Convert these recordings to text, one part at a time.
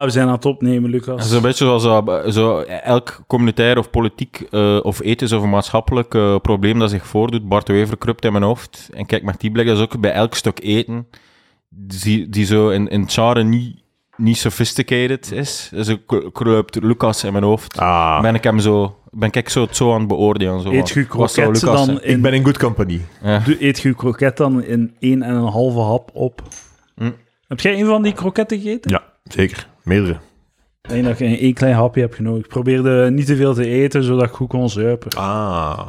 Ah, We zijn aan het opnemen, Lucas. Dat is een beetje zoals eh, zo elk communitair of politiek eh, of ethisch of maatschappelijk eh, probleem dat zich voordoet. Bart de Wever krupt in mijn hoofd. En kijk, maar die blik, dat is ook bij elk stuk eten, die, die zo in, in het genre niet, niet sophisticated is. Dus ik kruipt Lucas in mijn hoofd. Ah, Ben ik hem zo, ben ik zo, het zo aan het beoordelen. Zo, Eet je Wat zou kroketten dan Lucas zijn? ik in, ben in good company. doe- eet je kroket dan in één en een halve hap op. Hm. Heb jij een van die kroketten gegeten? Ja, zeker. Meerdere. Ik denk dat je één klein hapje hebt genomen. Ik probeerde niet te veel te eten, zodat ik goed kon zuipen. Ah.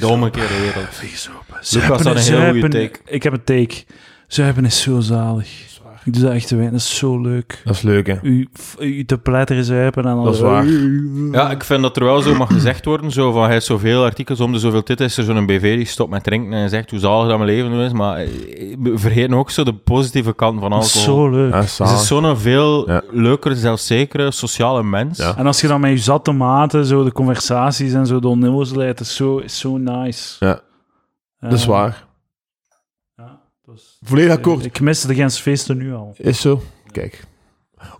De omgekeerde wereld. Vies op. Lucas had een heel goede take. Ik heb een take. Zuipen is zo zalig. Ik doe dat echt te weinig. Dat is zo leuk. Dat is leuk, hè? U, f- u te pletteren zuipen en dan... Dat is waar. Ja, ik vind dat er wel zo mag gezegd worden. Zo van, hij heeft zoveel artikels om de zoveel tijd is er zo'n BV die stopt met drinken en zegt hoe zalig dat mijn leven nu is. Maar eh, eh, vergeet ook zo de positieve kant van Dat is alcohol. zo leuk. Ja, Het is zalig. zo'n veel Ja. leukere, zelfzekere, sociale mens. Ja. En als je dan met je zatte maten, zo de conversaties en zo de onnozelheid, is zo, is zo nice. Ja. Eh, Dat is waar. ja, dat is- Volledig akkoord. Ik mis de Gens feesten nu al. Is zo. Kijk.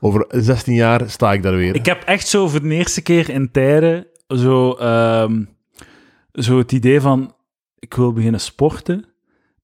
Over 16 jaar sta ik daar weer. Ik heb echt zo voor de eerste keer in tijden zo, ehm, zo het idee van: ik wil beginnen sporten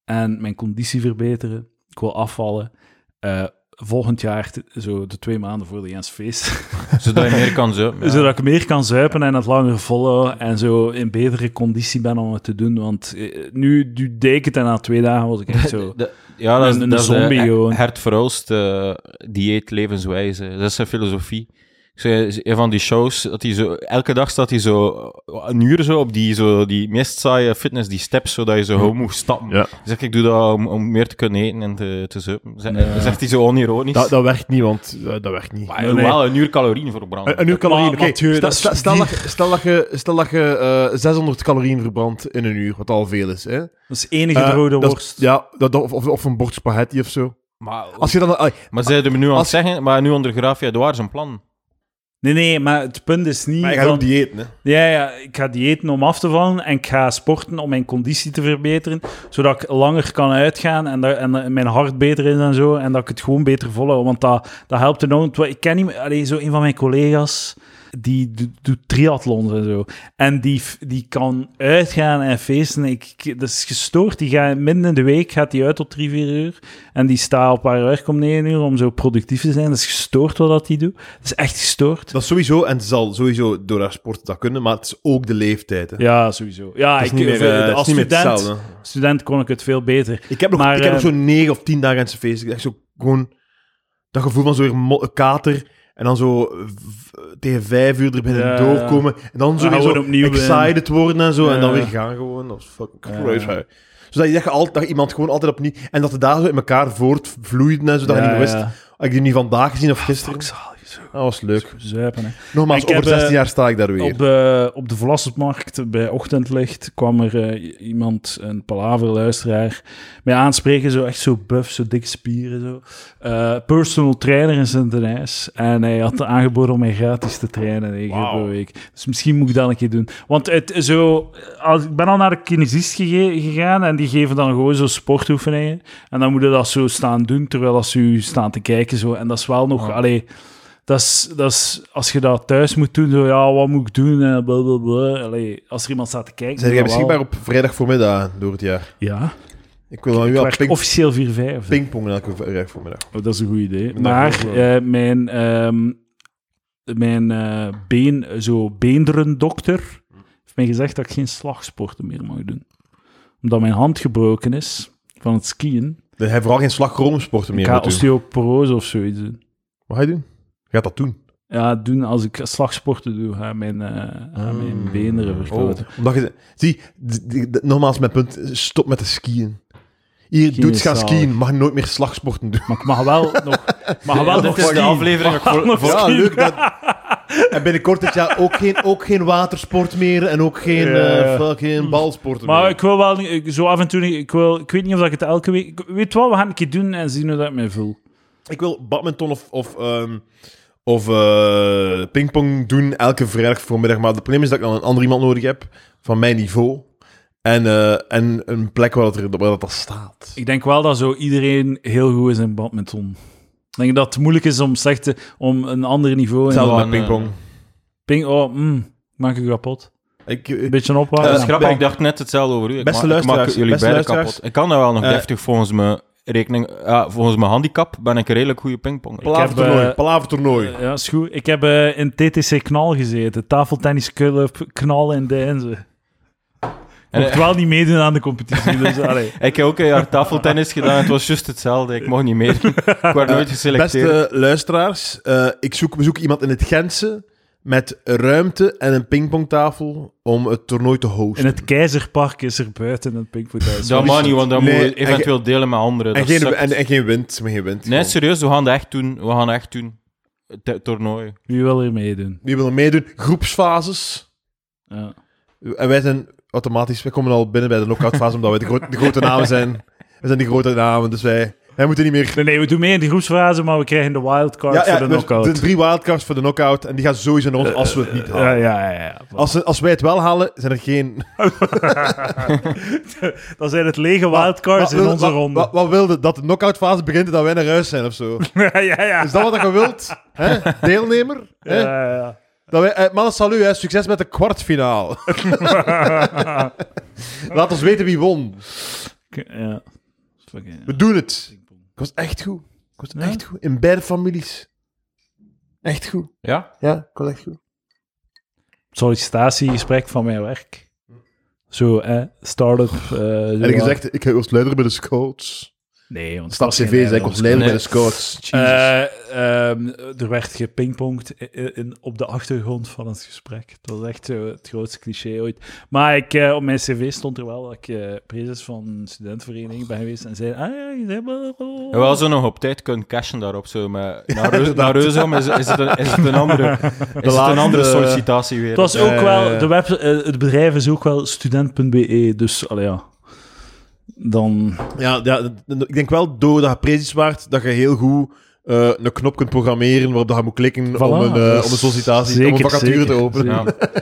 en mijn conditie verbeteren. Ik wil afvallen. Eh, volgend jaar, t- zo de twee maanden voor de Jens Feest, Zodat je meer kan zo. zodat ik meer kan zuipen en het langer volhouden en zo in betere conditie ben om het te doen. Want eh, nu, nu deed ik het en na twee dagen was ik echt zo. ja, dat is, Een- een dat is zombie, gewoon. de Hert Verhulst eh, dieet, levenswijze. Dat is zijn filosofie. Ik zei, een van die shows, dat hij zo, elke dag staat hij zo een uur zo op die, zo, die meest saaie fitness, die steps, zodat je zo hoog moet stappen. Ja. Hij zegt, ik doe dat om, om meer te kunnen eten en te, te zuipen. Zegt, zegt hij zo onironisch. Dat, dat werkt niet, want eh, dat werkt niet. maar wel een uur calorieën verbranden. Een, een uur calorieën. Maar, Oké, Mathieu, stel, dat is stel, stel dat, die- je- stel dat je, stel dat je eh, 600 calorieën verbrandt in een uur, wat al veel is. Hè? Dat is enige rode Eh, dat- worst. Ja, dat, of, of- of een bord spaghetti of zo. maar Als je dan... ah, maar zeiden we nu aan het als- Oh, zeggen, maar nu ondergraaf jij de waar zijn plan. Nee, nee, maar het punt is niet. maar je gaat van- ook diëten, hè? Ja, ja, ik ga diëten om af te vallen en ik ga sporten om mijn conditie te verbeteren, zodat ik langer kan uitgaan en, daar, en eh, mijn hart beter is en zo, en dat ik het gewoon beter volhoud, want dat, dat helpt enorm. Want Ik ken niet, allee, zo een van mijn collega's, die do- doet triathlons en zo, en die, f- die kan uitgaan en feesten, ik, ik- dat is gestoord, die gaat midden in de week gaat die uit tot drie, vier uur, en die staat op haar werk om negen uur om zo productief te zijn, dat is gestoord wat dat die doet, dat is echt gestoord. Dat is sowieso, en ze zal sowieso door haar sport dat kunnen, maar het is ook de leeftijd. Hè. Ja, sowieso. Ja, Het is ik, niet meer, eh, het is als niet meer student, hetzelfde. student kon ik het veel beter. Ik heb nog, Maar, ik heb nog eh, zo'n 9 of 10 dagen aan zijn feest. Ik heb echt zo gewoon dat gevoel van zo weer mo- kater. En dan zo v- tegen vijf uur er binnen Ja, doorkomen. En dan zo Ja, weer zo gewoon opnieuw, eh, excited worden en zo. En dan ja. weer gaan gewoon. Dat is fucking Ja. crazy. Zodat je dat, je altijd, dat iemand gewoon altijd opnieuw... En dat de dagen zo in elkaar voortvloeiden en zo. Dat je niet meer wist. Heb ik die nu vandaag gezien of gisteren? Ik Dat zal je zo was leuk. zuipen. hè. Nogmaals, Ik heb, over 16 eh, jaar sta ik daar weer. Op de, op de Vlassenmarkt, bij Ochtendlicht, kwam er eh, iemand, een palaverluisteraar, mij aanspreken, zo echt zo buff, zo dikke spieren, zo. Eh, personal trainer in Sint-Denijs. En hij had aangeboden om mij gratis te trainen, één keer per week. Dus misschien moet ik dat een keer doen. Want het, zo, als, ik ben al naar de kinesist gege- gegaan en die geven dan gewoon zo sportoefeningen. En dan moet je dat zo staan doen, terwijl als u staan te kijken, zo. En dat is wel nog, Ja. allee... Dat is, dat is, als je dat thuis moet doen, zo ja, wat moet ik doen? eh, En blablabla. Allee, als er iemand staat te kijken. Zijn jij doe dat wel. beschikbaar op vrijdag voormiddag door het jaar? Ja, Ik wil aan ik u al werk ping- officieel 4-5. pingpongen elke vrijdag voormiddag. Oh, dat is een goed idee. ben daar Maar voor, hoor. eh, mijn, ehm, mijn eh, been, zo beenderendokter heeft mij gezegd dat ik geen slagsporten meer mag doen. Omdat mijn hand gebroken is van het skiën. Hij heeft vooral geen slagroomsporten Ik meer ga moeten doen. osteoporose of zoiets doen. Wat ga je doen? Je gaat dat doen. Ja, doen als ik slagsporten doe, ga mijn, eh, gaan mijn Mm. benen verkouden. Oh. Omdat je, zie, d- d- d- nogmaals mijn punt, stop met de skiën. Hier, Skiën doet is gaan zalig. skiën, mag je nooit meer slagsporten doen. Maar ik mag wel nog... Mag wel Oh. Ja, nog dit is de skiën. aflevering. Mag nog ja, skiën. leuk. Dat... En binnenkort dit jaar ook geen, ook geen watersport meer en ook geen, Ja. eh, fucking balsporten Maar meer. ik wil wel niet- ik- zo af en toe. niet- Ik, wil, ik weet niet of dat ik het elke week. ik- Weet wat, we gaan een keer doen en zien hoe dat ik me voel. Ik wil badminton of, of, ehm, of eh, pingpong doen elke vrijdag voormiddag. Maar het probleem is dat ik dan een ander iemand nodig heb van mijn niveau. En, eh, en een plek waar dat, er, waar dat al staat. Ik denk wel dat zo iedereen heel goed is in badminton. Ik denk dat het moeilijk is om, slechte, om een ander niveau... in- Zou- Hetzelfde Gewoon, met pingpong. Ping, oh, mm, maak ik u kapot. Ik, Een eh, beetje Ja, opwarmen. dat is grappig, ben- ik dacht net hetzelfde over u. Ik ma- Beste ik maak luisteraars, jullie beste beiden luisteraars. kapot. Ik kan daar wel nog Eh. deftig volgens mijn rekening... ah, volgens mijn handicap ben ik een redelijk goede pingpong. Ik heb, palavertoernooi. eh, palavertoernooi. Eh, Ja, is goed. Ik heb eh, in TTC Knal gezeten. Tafeltennisclub Knal in Deinze. Ik mocht En, eh, wel niet meedoen aan de competitie. Dus, allee. Ik heb ook een jaar tafeltennis gedaan, het was juist hetzelfde. Ik mocht niet meer. Ik werd nooit geselecteerd. Beste luisteraars, eh, ik zoek, we zoeken iemand in het Gentse met ruimte en een pingpongtafel om het toernooi te hosten. In het Keizerpark is er buiten het Pinkfoothuis. dat mag niet, want dan Nee, moet je en eventueel delen met anderen. en, Dat geen, sukt. en, en geen wind, maar geen wind. Nee, Gewoon. serieus, we gaan dat echt doen. We gaan echt doen. Het eh, toernooi. Wie wil er meedoen? Wie wil meedoen? Groepsfases. Ja. En wij zijn automatisch, wij komen al binnen bij de knockoutfase omdat wij de, gro- de grote namen zijn. We zijn de grote namen, dus wij, wij moeten niet meer... Nee, nee, we doen mee in de groepsfase, maar we krijgen de wildcard Ja, ja, voor de dus knockout. de drie wildcards voor de knockout en die gaan sowieso naar ons als we het niet halen. Ja, ja, ja. eh, ja. Als, ze- als wij het wel halen, zijn er geen... Dan zijn het lege wildcards in wil- onze ronde. Wat, wat wilde dat de knockoutfase begint en dat wij naar huis zijn of zo? ja, ja, ja. Is dat wat je wilt? Hè? Deelnemer? Ja, Hè? ja, ja. Dat wij, eh, mannen, salut. Hè? Succes met de kwartfinale. Laat ons weten wie won. K- ja. Fucking, ja. We doen het. Ik was echt goed. Ik was Ja? echt goed. In beide families. Echt goed. Ja? Ja, ik was echt goed. Sollicitatiegesprek van mijn werk. Zo, eh, start-up. eh, zo En ik wat. gezegd, ik was leider bij de scouts. Nee, want Stap dat was cv, geen zei ik, Nederlands. was leider Nee. bij de scouts. Eh, ehm, er werd gepingpongd i- i- in, op de achtergrond van het gesprek. Dat was echt zo het grootste cliché ooit. Maar ik, eh, op mijn cv stond er wel dat ik eh prezes van een studentenvereniging ben geweest. En zei, ah ja, je zei... Oh, En wel zo nog op tijd kunnen cashen daarop. Zo met, naar Reus- inderdaad. naar Reuzom is, is, het een, is het een andere, is het laatste- een andere sollicitatie weer. Het was ook Eh, wel... De web, eh, het bedrijf is ook wel student.be, dus allee, ja. Dan... Eh, Ja, ja, d- d- ik denk wel doordat je prezis waard, dat je heel goed eh, een knop kunt programmeren waarop dat je moet klikken om, Voilà, een, eh, dus om een sollicitatie, om zeker, een vacature zeker, te openen. zeker.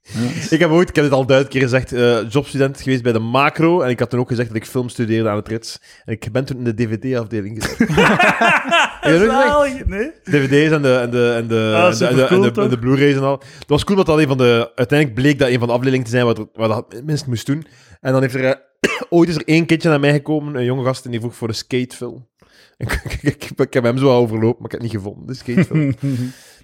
Ja. Ik heb ooit, ik heb het al duizend keer gezegd, eh, jobstudent geweest bij de macro. En ik had toen ook gezegd dat ik film studeerde aan het Rits. En ik ben toen in de DVD-afdeling gezet. Ik heb ook gezegd, Zalig, nee? DVD's en de, en de, en de, Ah, en de, en de, supercool, en de- en de Blu-rays en al. Het was cool, want dat een van de, uiteindelijk bleek dat een van de afdelingen te zijn waar, dat- waar dat mensen moest doen. En dan heeft er eh, ooit is er één kindje naar mij gekomen, een jonge gast, en die vroeg voor een skatefilm. Ik, ik, ik, ik heb hem zo al overlopen, maar ik heb het niet gevonden, de skatefilm.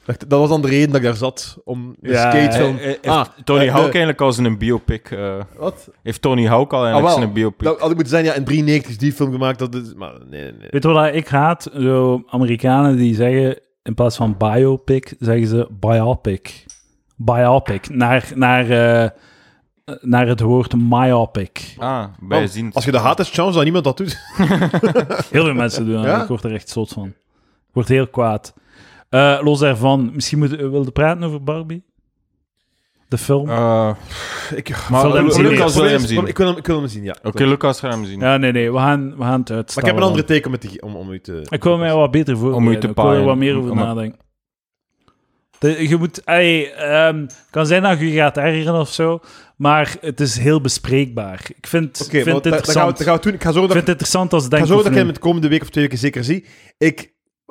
Ik dacht, dat was dan de reden dat ik daar zat, om de Ja, skatefilm... Eh, eh, heeft Ah, Tony eh, Hawk de- eigenlijk als een biopic. eh, Wat? heeft Tony Hawk al Ah, eigenlijk wel. zijn biopic? Dat had ik moeten zijn, ja, in 93 is die film gemaakt, dat is... Maar nee, nee, nee. Weet je wat ik haat? Zo Amerikanen die zeggen, in plaats van biopic, zeggen ze biopic. Biopic. Naar, naar, eh, naar het woord myopic. Ah, bij Want zien. Als je de haat is chance dat niemand dat doet. Heel veel mensen doen dat. Ja? Ik word er echt zot van. Ik word heel kwaad. Eh, los daarvan, misschien moet, eh, wilde praten over Barbie? De film? Eh, Ik, maar wil hem Lu- zien. Lucas wil hem zien. ik, wil hem, ik wil hem zien, ja. Oké, Lucas gaat hem zien. Ja, nee, nee. We gaan, we gaan het uitstellen. Maar ik heb een dan. andere teken met die, om, om u te... Ik wil mij wat beter voorbereiden. te ik wil er paaien. wat meer over Om- om- nadenken. De- je moet... ey, ehm, het kan zijn dat je je gaat ergeren of zo, maar het is heel bespreekbaar. Ik vind, Oké, vind maar het dat- dat gaan we- interessant. dat gaan we doen. Ik ga zorgen Ik dat vind het interessant als ik, denk ga zorgen of dat ik hem nee. de komende week of twee weken zeker zie. Ik,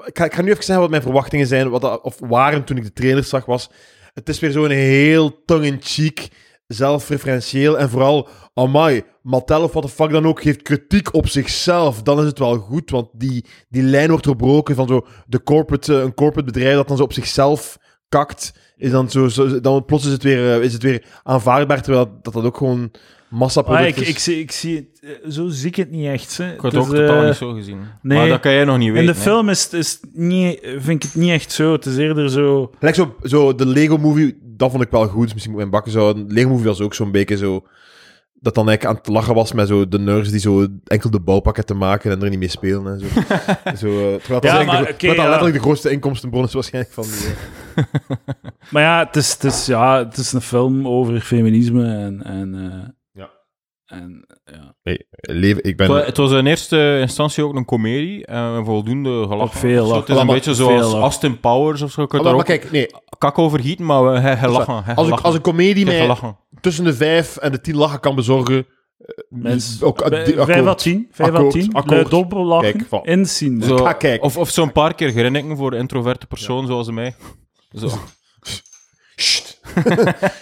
ik, ga, ik ga nu even zeggen wat mijn verwachtingen zijn, wat dat- of waren toen ik de trailer zag, was... Het is weer zo'n heel tongue-in-cheek, zelfreferentieel en vooral... Amai, Mattel of wat de fuck dan ook geeft kritiek op zichzelf. Dan is het wel goed, want die, die lijn wordt doorbroken van zo de corporate, eh, een corporate bedrijf dat dan zo op zichzelf kakt. Is dan zo, zo- dan plots is het weer, eh, is het weer aanvaardbaar, terwijl dat, dat ook gewoon Ah, massaproduct ik, is. ik, zie, ik zie het... eh, Zo zie ik het niet echt. hè. Ik had Het het is, ook totaal eh, niet zo gezien. nee. Maar dat kan jij nog niet In weten. de hè. film is, het- is het niet, vind ik het niet echt zo. Het is eerder zo... Lijkt zo, zo de Lego Movie, dat vond ik wel goed. Dus misschien moet ik mijn bakken zouden. Lego Movie was ook zo'n beetje zo. Dat dan eigenlijk aan het lachen was met zo de nerds die zo enkel de bouwpakketten maken en er niet mee spelen. En zo. zo, eh, terwijl dat, Ja, eigenlijk maar de, oké, terwijl dat ja. letterlijk de grootste inkomstenbron is waarschijnlijk van die. eh. Maar ja, het is, het is, ja, het is een film over feminisme en... en eh, Ja. En, ja. Leven, ik ben. Het wa- Het was in eerste instantie ook een komedie. En voldoende gelach. Ook veel Zo, lach. Het is een Allemaal beetje zoals veel lach. Austin Powers of zo. Ik Ah, had maar, er maar ook kijk, nee. kak over gieten, maar hij, hij lachen. hij Als, ik, lachen. als een comedie Hij mij lachen. tussen de vijf en de tien lachen kan bezorgen, Mensen. Ook, Bij- Ah, die- oh, Vijf akkoord. à tien. Vijf à Akkoord, tien. akkoord. Luid dobro lachen. Kijk, van- in zien. Zo, Dus ga kijken. Of, of zo'n paar keer grinniken voor een introverte persoon zoals mij. Zo. Sst.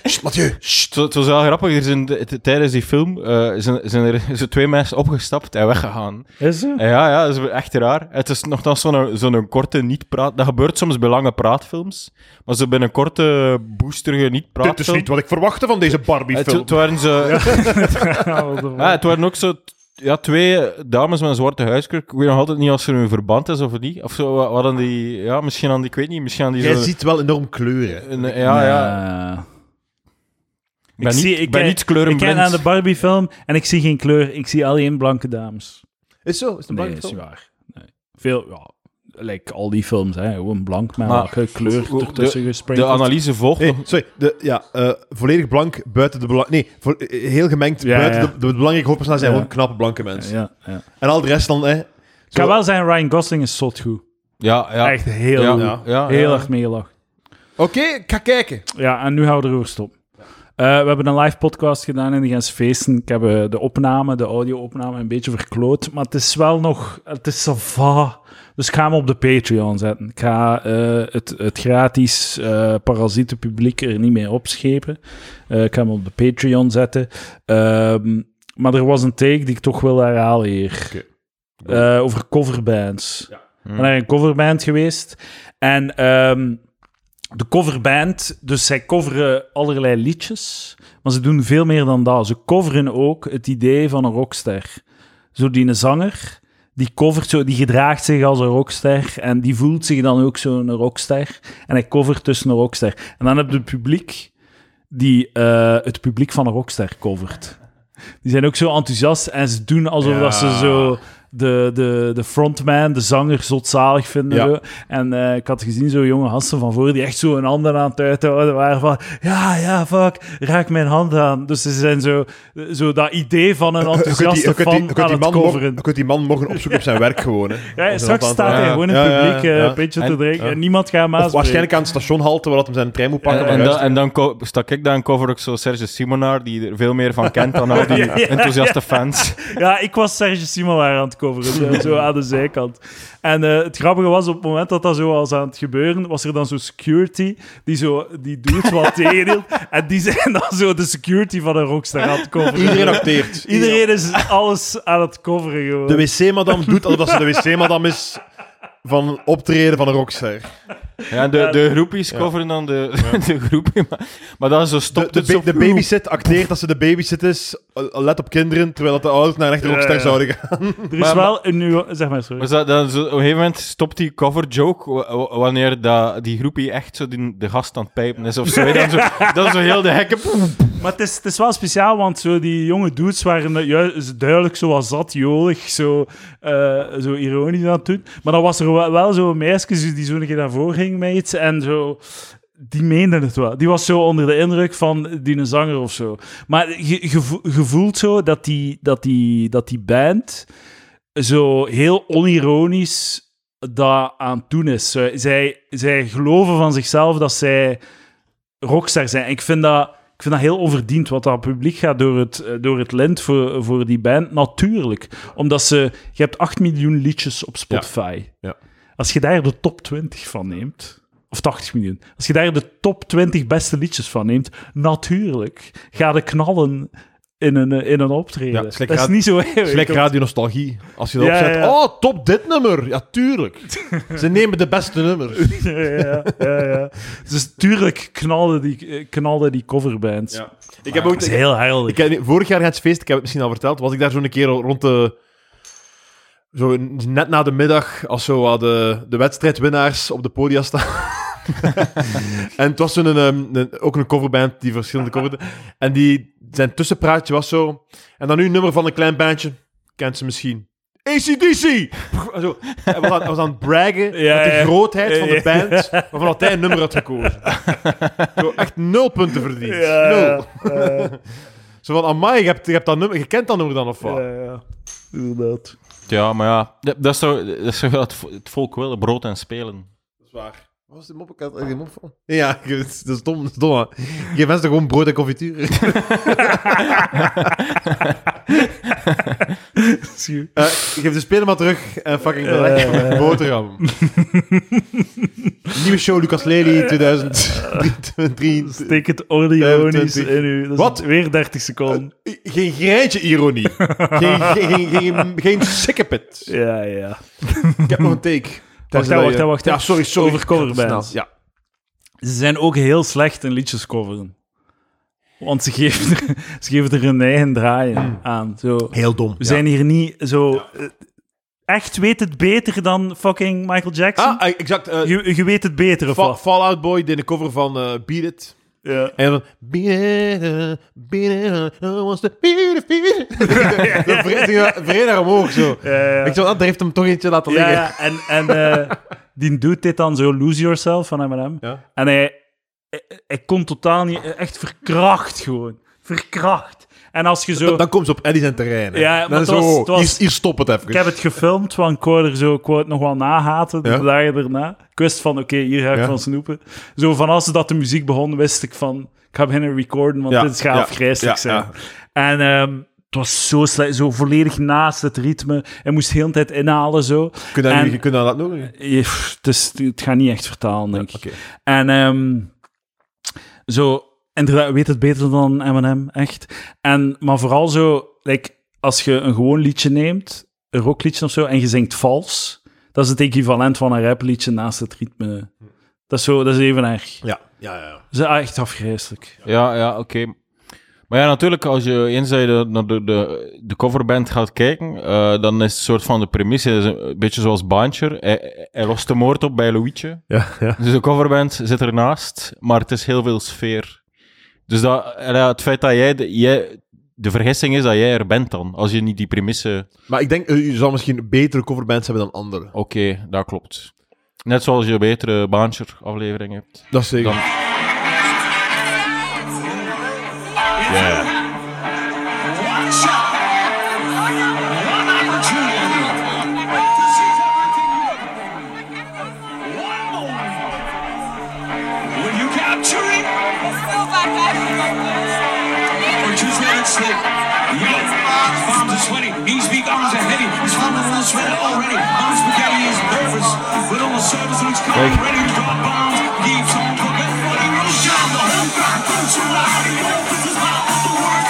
Sst, Mathieu. Het was- het was wel grappig. Er zijn, t- tijdens die film eh, zijn, zijn er zo twee mensen opgestapt en weggegaan. Is het? En ja, ja, dat is echt raar. Het is nogthans zo'n zo'n korte niet-praat... Dat gebeurt soms bij lange praatfilms. Maar zo bij een korte, boosterige niet-praatfilm... Eh, Dit is niet wat Eh, ik verwachtte van deze Het, Barbie-film. het waren ze... Ja, wat de- Ja, het waren ook zo... t- Ja, twee dames met een zwarte huidskleur. Ik weet nog altijd niet als er een verband is of niet. Of zo, wa- hadden die... Ja, misschien aan die... Ik weet niet, misschien aan die... Jij zo'n- ziet wel enorm kleuren. een- ja, ja. Nee. Ik ben, zie- niet, ik ben kijk- niet kleurenblind. Ik kijk naar de Barbie-film en ik zie geen kleur. Ik zie alleen blanke dames. Is zo? Is het een Nee, is Barbie-film? niet waar. Nee. Veel, ja, like al die films, hè. Gewoon blank, maar, Maar- welke kleur de- ertussen De gesprenkeld. analyse volgt Nee, nog. sorry. De, ja, eh, volledig blank buiten de belang... Nee, vo- eh, heel gemengd Ja, buiten ja. de, de belangrijke hoofdpersonen zijn Ja. gewoon knappe blanke mensen. Ja, ja. En al de rest dan, hè. Ik kan wel zijn, Ryan Gosling is zot goed. Ja, ja. Echt heel ja, goed. ja, ja, Heel ja. erg meegelachen. Oké, ik ga kijken. Ja, en nu houden we erover stop. Eh, we hebben een live podcast gedaan in de Gens Feesten. Ik heb eh, de opname, de audio-opname, een beetje verkloot. Maar het is wel nog... Het is sava. Dus ik ga hem op de Patreon zetten. Ik ga eh, het, het gratis eh parasietenpubliek er niet mee opschepen. Eh, ik ga hem op de Patreon zetten. Ehm, maar er was een take die ik toch wil herhalen hier. Oké. Eh, over coverbands. Ik ben Hmm. naar een coverband geweest. En ehm, de coverband, dus zij coveren allerlei liedjes. Maar ze doen veel meer dan dat. Ze coveren ook het idee van een rockster. Zo die een zanger, die covert zo, die gedraagt zich als een rockster. En die voelt zich dan ook zo'n rockster. En hij covert dus een rockster. En dan heb je het publiek die eh, het publiek van een rockster covert. Die zijn ook zo enthousiast en ze doen alsof Ja. dat ze zo de, de, de frontman, de zanger, zotzalig vinden. Ja. zo. En eh, ik had gezien zo'n jonge gasten van voor die echt zo een handen aan het uithouden waren van ja, ja, fuck, raak mijn hand aan. Dus ze zijn zo, zo dat idee van een Je kunt die- enthousiaste je kunt die- fan je kunt aan die het man mor- coveren. je kunt die man morgen opzoeken op zijn werk gewoon. Hè, Om Ja, zijn hand straks aan te staat hij raken. ja. gewoon in Ja, het ja, publiek eh, ja. een beetje te En- drinken ja. en niemand gaat hem Of aanspreken. waarschijnlijk aan het stationhalte waar dat hem zijn trein moet pakken. En, en, om dan, thuis te en dan ko- stak ik daar en cover ik zo Serge Simonaar, die er veel meer van kent dan al die Ja, ja. enthousiaste fans. Ja, ik was Serge Simelaar aan het coveren, zo, zo aan de zijkant. En eh, het grappige was, op het moment dat dat zo was aan het gebeuren, was er dan zo'n security die, zo, die doet wat tegenhield. En die zijn dan zo de security van een rockster aan het coveren. Iedereen acteert. Iedereen is alles aan het coveren gewoon. De wc-madam doet alsof dat ze de wc-madam is van een optreden van een rockster. Ja, de, de groepies coveren dan de, de groepie. Maar, maar dat is zo De, stopt de, dus het ba- zo. de babysit acteert dat ze de babysit is. eh, Let op kinderen, terwijl dat de ouders naar een echte Ja, rockster ja. zouden gaan. er is maar- wel een nu... Zeg maar, sorry. Maar zo- Dus dan zo- op een gegeven moment stopt die cover joke wa- wa- wanneer dat, die groepie echt zo die, de gast aan het pijpen is of zo. Dan zo, dan zo heel de hekken. Maar het is, het is wel speciaal, want zo die jonge dudes waren eh, juist duidelijk zo wat zat, jolig, zo, eh, zo ironisch aan het doen. Maar dan was er wel, wel zo'n meisje die zo'n keer naar voren ging met iets en zo... Die meende het wel. Die was zo onder de indruk van die zanger of zo. Maar je, je vo- je voelt zo dat die, dat, die, dat die band zo heel onironisch dat aan het doen is. Zij- Zij, zij geloven van zichzelf dat zij rockster zijn. En ik vind dat, ik vind dat heel onverdiend, wat dat publiek gaat door het, eh, door het lint voor, voor die band. Natuurlijk. Omdat ze... Je hebt 8 miljoen liedjes op Spotify. Ja. Als je daar de top 20 van neemt... Of 80 miljoen. Als je daar de top 20 beste liedjes van neemt, natuurlijk ga de knallen in een, eh, in een optreden. Ja, dus het is dat lekker is ra- niet zo Het is like Radio Nostalgie. Als je dat Ja, opzet. ja, ja. Oh, top dit nummer. Ja, tuurlijk. Ze nemen de beste nummers. ja, ja, ja, ja. Dus tuurlijk knalden die, eh, knalden die coverbands. Ik heb ook... Dat is heel helder. Ik heb, vorig jaar het feest, ik heb het misschien al verteld, was ik daar zo'n keer rond de... Zo net na de middag, als zo wat de, de wedstrijdwinnaars op de podia staan. en het was zo'n, ehm, een, ook een coverband die verschillende coverde. En die, zijn tussenpraatje was zo... En dan nu een nummer van een klein bandje. Kent ze misschien. ACDC! En zo. Hij was aan, hij was aan het braggen Ja, met de ja. grootheid van de Ja, ja. band waarvan had hij een nummer had gekozen. Zo, echt nul punten verdiend. Ja, nul. ja, ja. Zo van, amai, je, hebt, je, hebt dat nummer, je kent dat nummer dan of wat? Ja, ja. Inderdaad. Ja, maar ja, dat- dat is zo, dat is zo wat het, volk wil, brood en spelen. Dat is waar. Wat was die mop? Ik had er geen mop van. Ja, dat is dat is dom. Dat is dom hè. je geeft mensen gewoon brood en confituur. Zie je? Eh, geef de speler maar terug en fucking beleg Eh. met boterham. Nieuwe show Lucas Eh. Lely 2023. Steek het ordinonisch 25. in u. Dat is Wat? Weer 30 seconden. Geen greintje ironie. Geen, geen, geen, geen, geen sikkepit. Ja, ja. Ik heb nog een take. Tenzij hè, dat wacht, je- hè, wacht, hè. Ja, sorry, sorry. Over coverbands. Snel, Ja. Ze zijn ook heel slecht in liedjes coveren. Want ze geven er, ze geven er hun eigen draai aan. Zo. We Heel dom. Hmm. ja. zijn hier niet zo... eh, Echt weet het beter dan fucking Michael Jackson? Ah, eh, exact. eh, je, je weet het beter, of Fa- wat? Fallout Boy deed een cover van eh, Beat It. Ja. En dan... Beat it, uh, beat it, uh, no one's the beat it, beat it. Dan vreet hij- vreet hij naar omhoog zo. Ja, ja. Ik zo, ah, daar heeft hem toch eentje laten Ja, liggen. ja, en, en eh, die doet dit dan zo Lose Yourself van M&M. Ja. En hij, hij, hij kon totaal niet... Echt verkracht gewoon. Verkracht. En als je zo... Dan komt ze op Eddie zijn terrein. hè. Ja, maar dan is het zo, was- oh, het was- hier, hier stop het even. Ik heb het gefilmd, want ik wou er zo, ik wou het nog wel nahaten, de Ja. dagen daarna. Ik wist van, oké, hier ga ik Ja. van snoepen. Zo van als dat de muziek begon, wist ik van, ik ga beginnen recorden, want Ja, dit gaat ja, afgrijselijk ja, zijn. ja. En ehm, het was zo slecht, zo volledig naast het ritme. Hij moest de hele tijd inhalen, zo. Kun je dat, en- nu- kun je dat laten horen? Je- pff, Het, is, het gaat niet echt vertalen, denk ik. Oké. En ehm, zo, inderdaad, weet het beter dan M&M, echt. En, maar vooral zo, like, als je een gewoon liedje neemt, een rockliedje of zo, en je zingt vals, dat is het equivalent van een rapliedje naast het ritme. Dat is, zo, dat is even erg. Ja. Ja, ja, ja. Dat is echt afgrijselijk. Ja, ja, oké. Maar ja, natuurlijk, als je eens dat je de- naar de, de, de coverband gaat kijken, eh, dan is het soort van de premisse is een beetje zoals Baantjer. Hij, hij lost de moord op bij Louietje. ja, ja. Dus de coverband zit ernaast, maar het is heel veel sfeer. Dus dat, en ja, het feit dat jij de, jij... de vergissing is dat jij er bent dan, als je niet die premisse... Maar ik denk, eh, je zal misschien betere coverbands hebben dan andere. Oké, dat klopt. Net zoals je een betere Baantjer-aflevering hebt. Dat is zeker. Dan- When you capture it, or choose not slip. Yo, bombs are sweaty, knees weak, arms are heavy. It's from the little shredder already. Mom's spaghetti is nervous. With all the service and it's coming ready to drop bombs. Leave some cooking for the real shot. The whole crowd goes to rock. The whole business mouth of the work.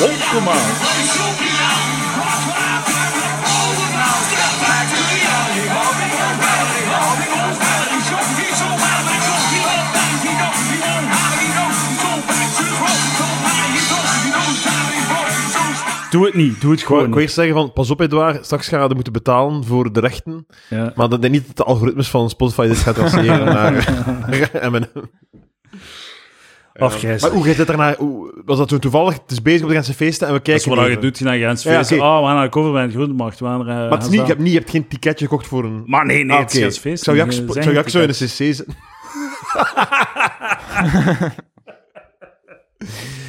Won't Oh, come out, it's your kom maar. let it shoot me out. Watch what I got. All the bounce, step back to reality. All the old reality, all the old reality. Show me so wild, but don't give up. Things he knows, he won't hide, he knows. Go back to his road, don't lie, he knows. He knows time, he broke, he knows Doe het niet, doe het Ik wou- gewoon. ik wil eerst zeggen van, pas op Edouard, straks gaan we moeten betalen voor de rechten. Ja. Maar dat denk niet dat de algoritmes van Spotify dit gaat traceren naar naar M&M. Afgrijselijk. Maar hoe gaat het daarna? hoe- Was dat zo toevallig? Het is bezig op de Gentse feesten en we dat is kijken wat je even. doet, je naar Ja, grensfeest. oké. Oh, we gaan naar de coverband Groenmarkt. We gaan er, eh, Maar het is gaan niet, je, hebt staan. niet, je hebt geen ticketje gekocht voor een... Maar nee, nee, Ah, het oké. is feest. Zou Jack, sp- zou Jack zo in de cc zitten?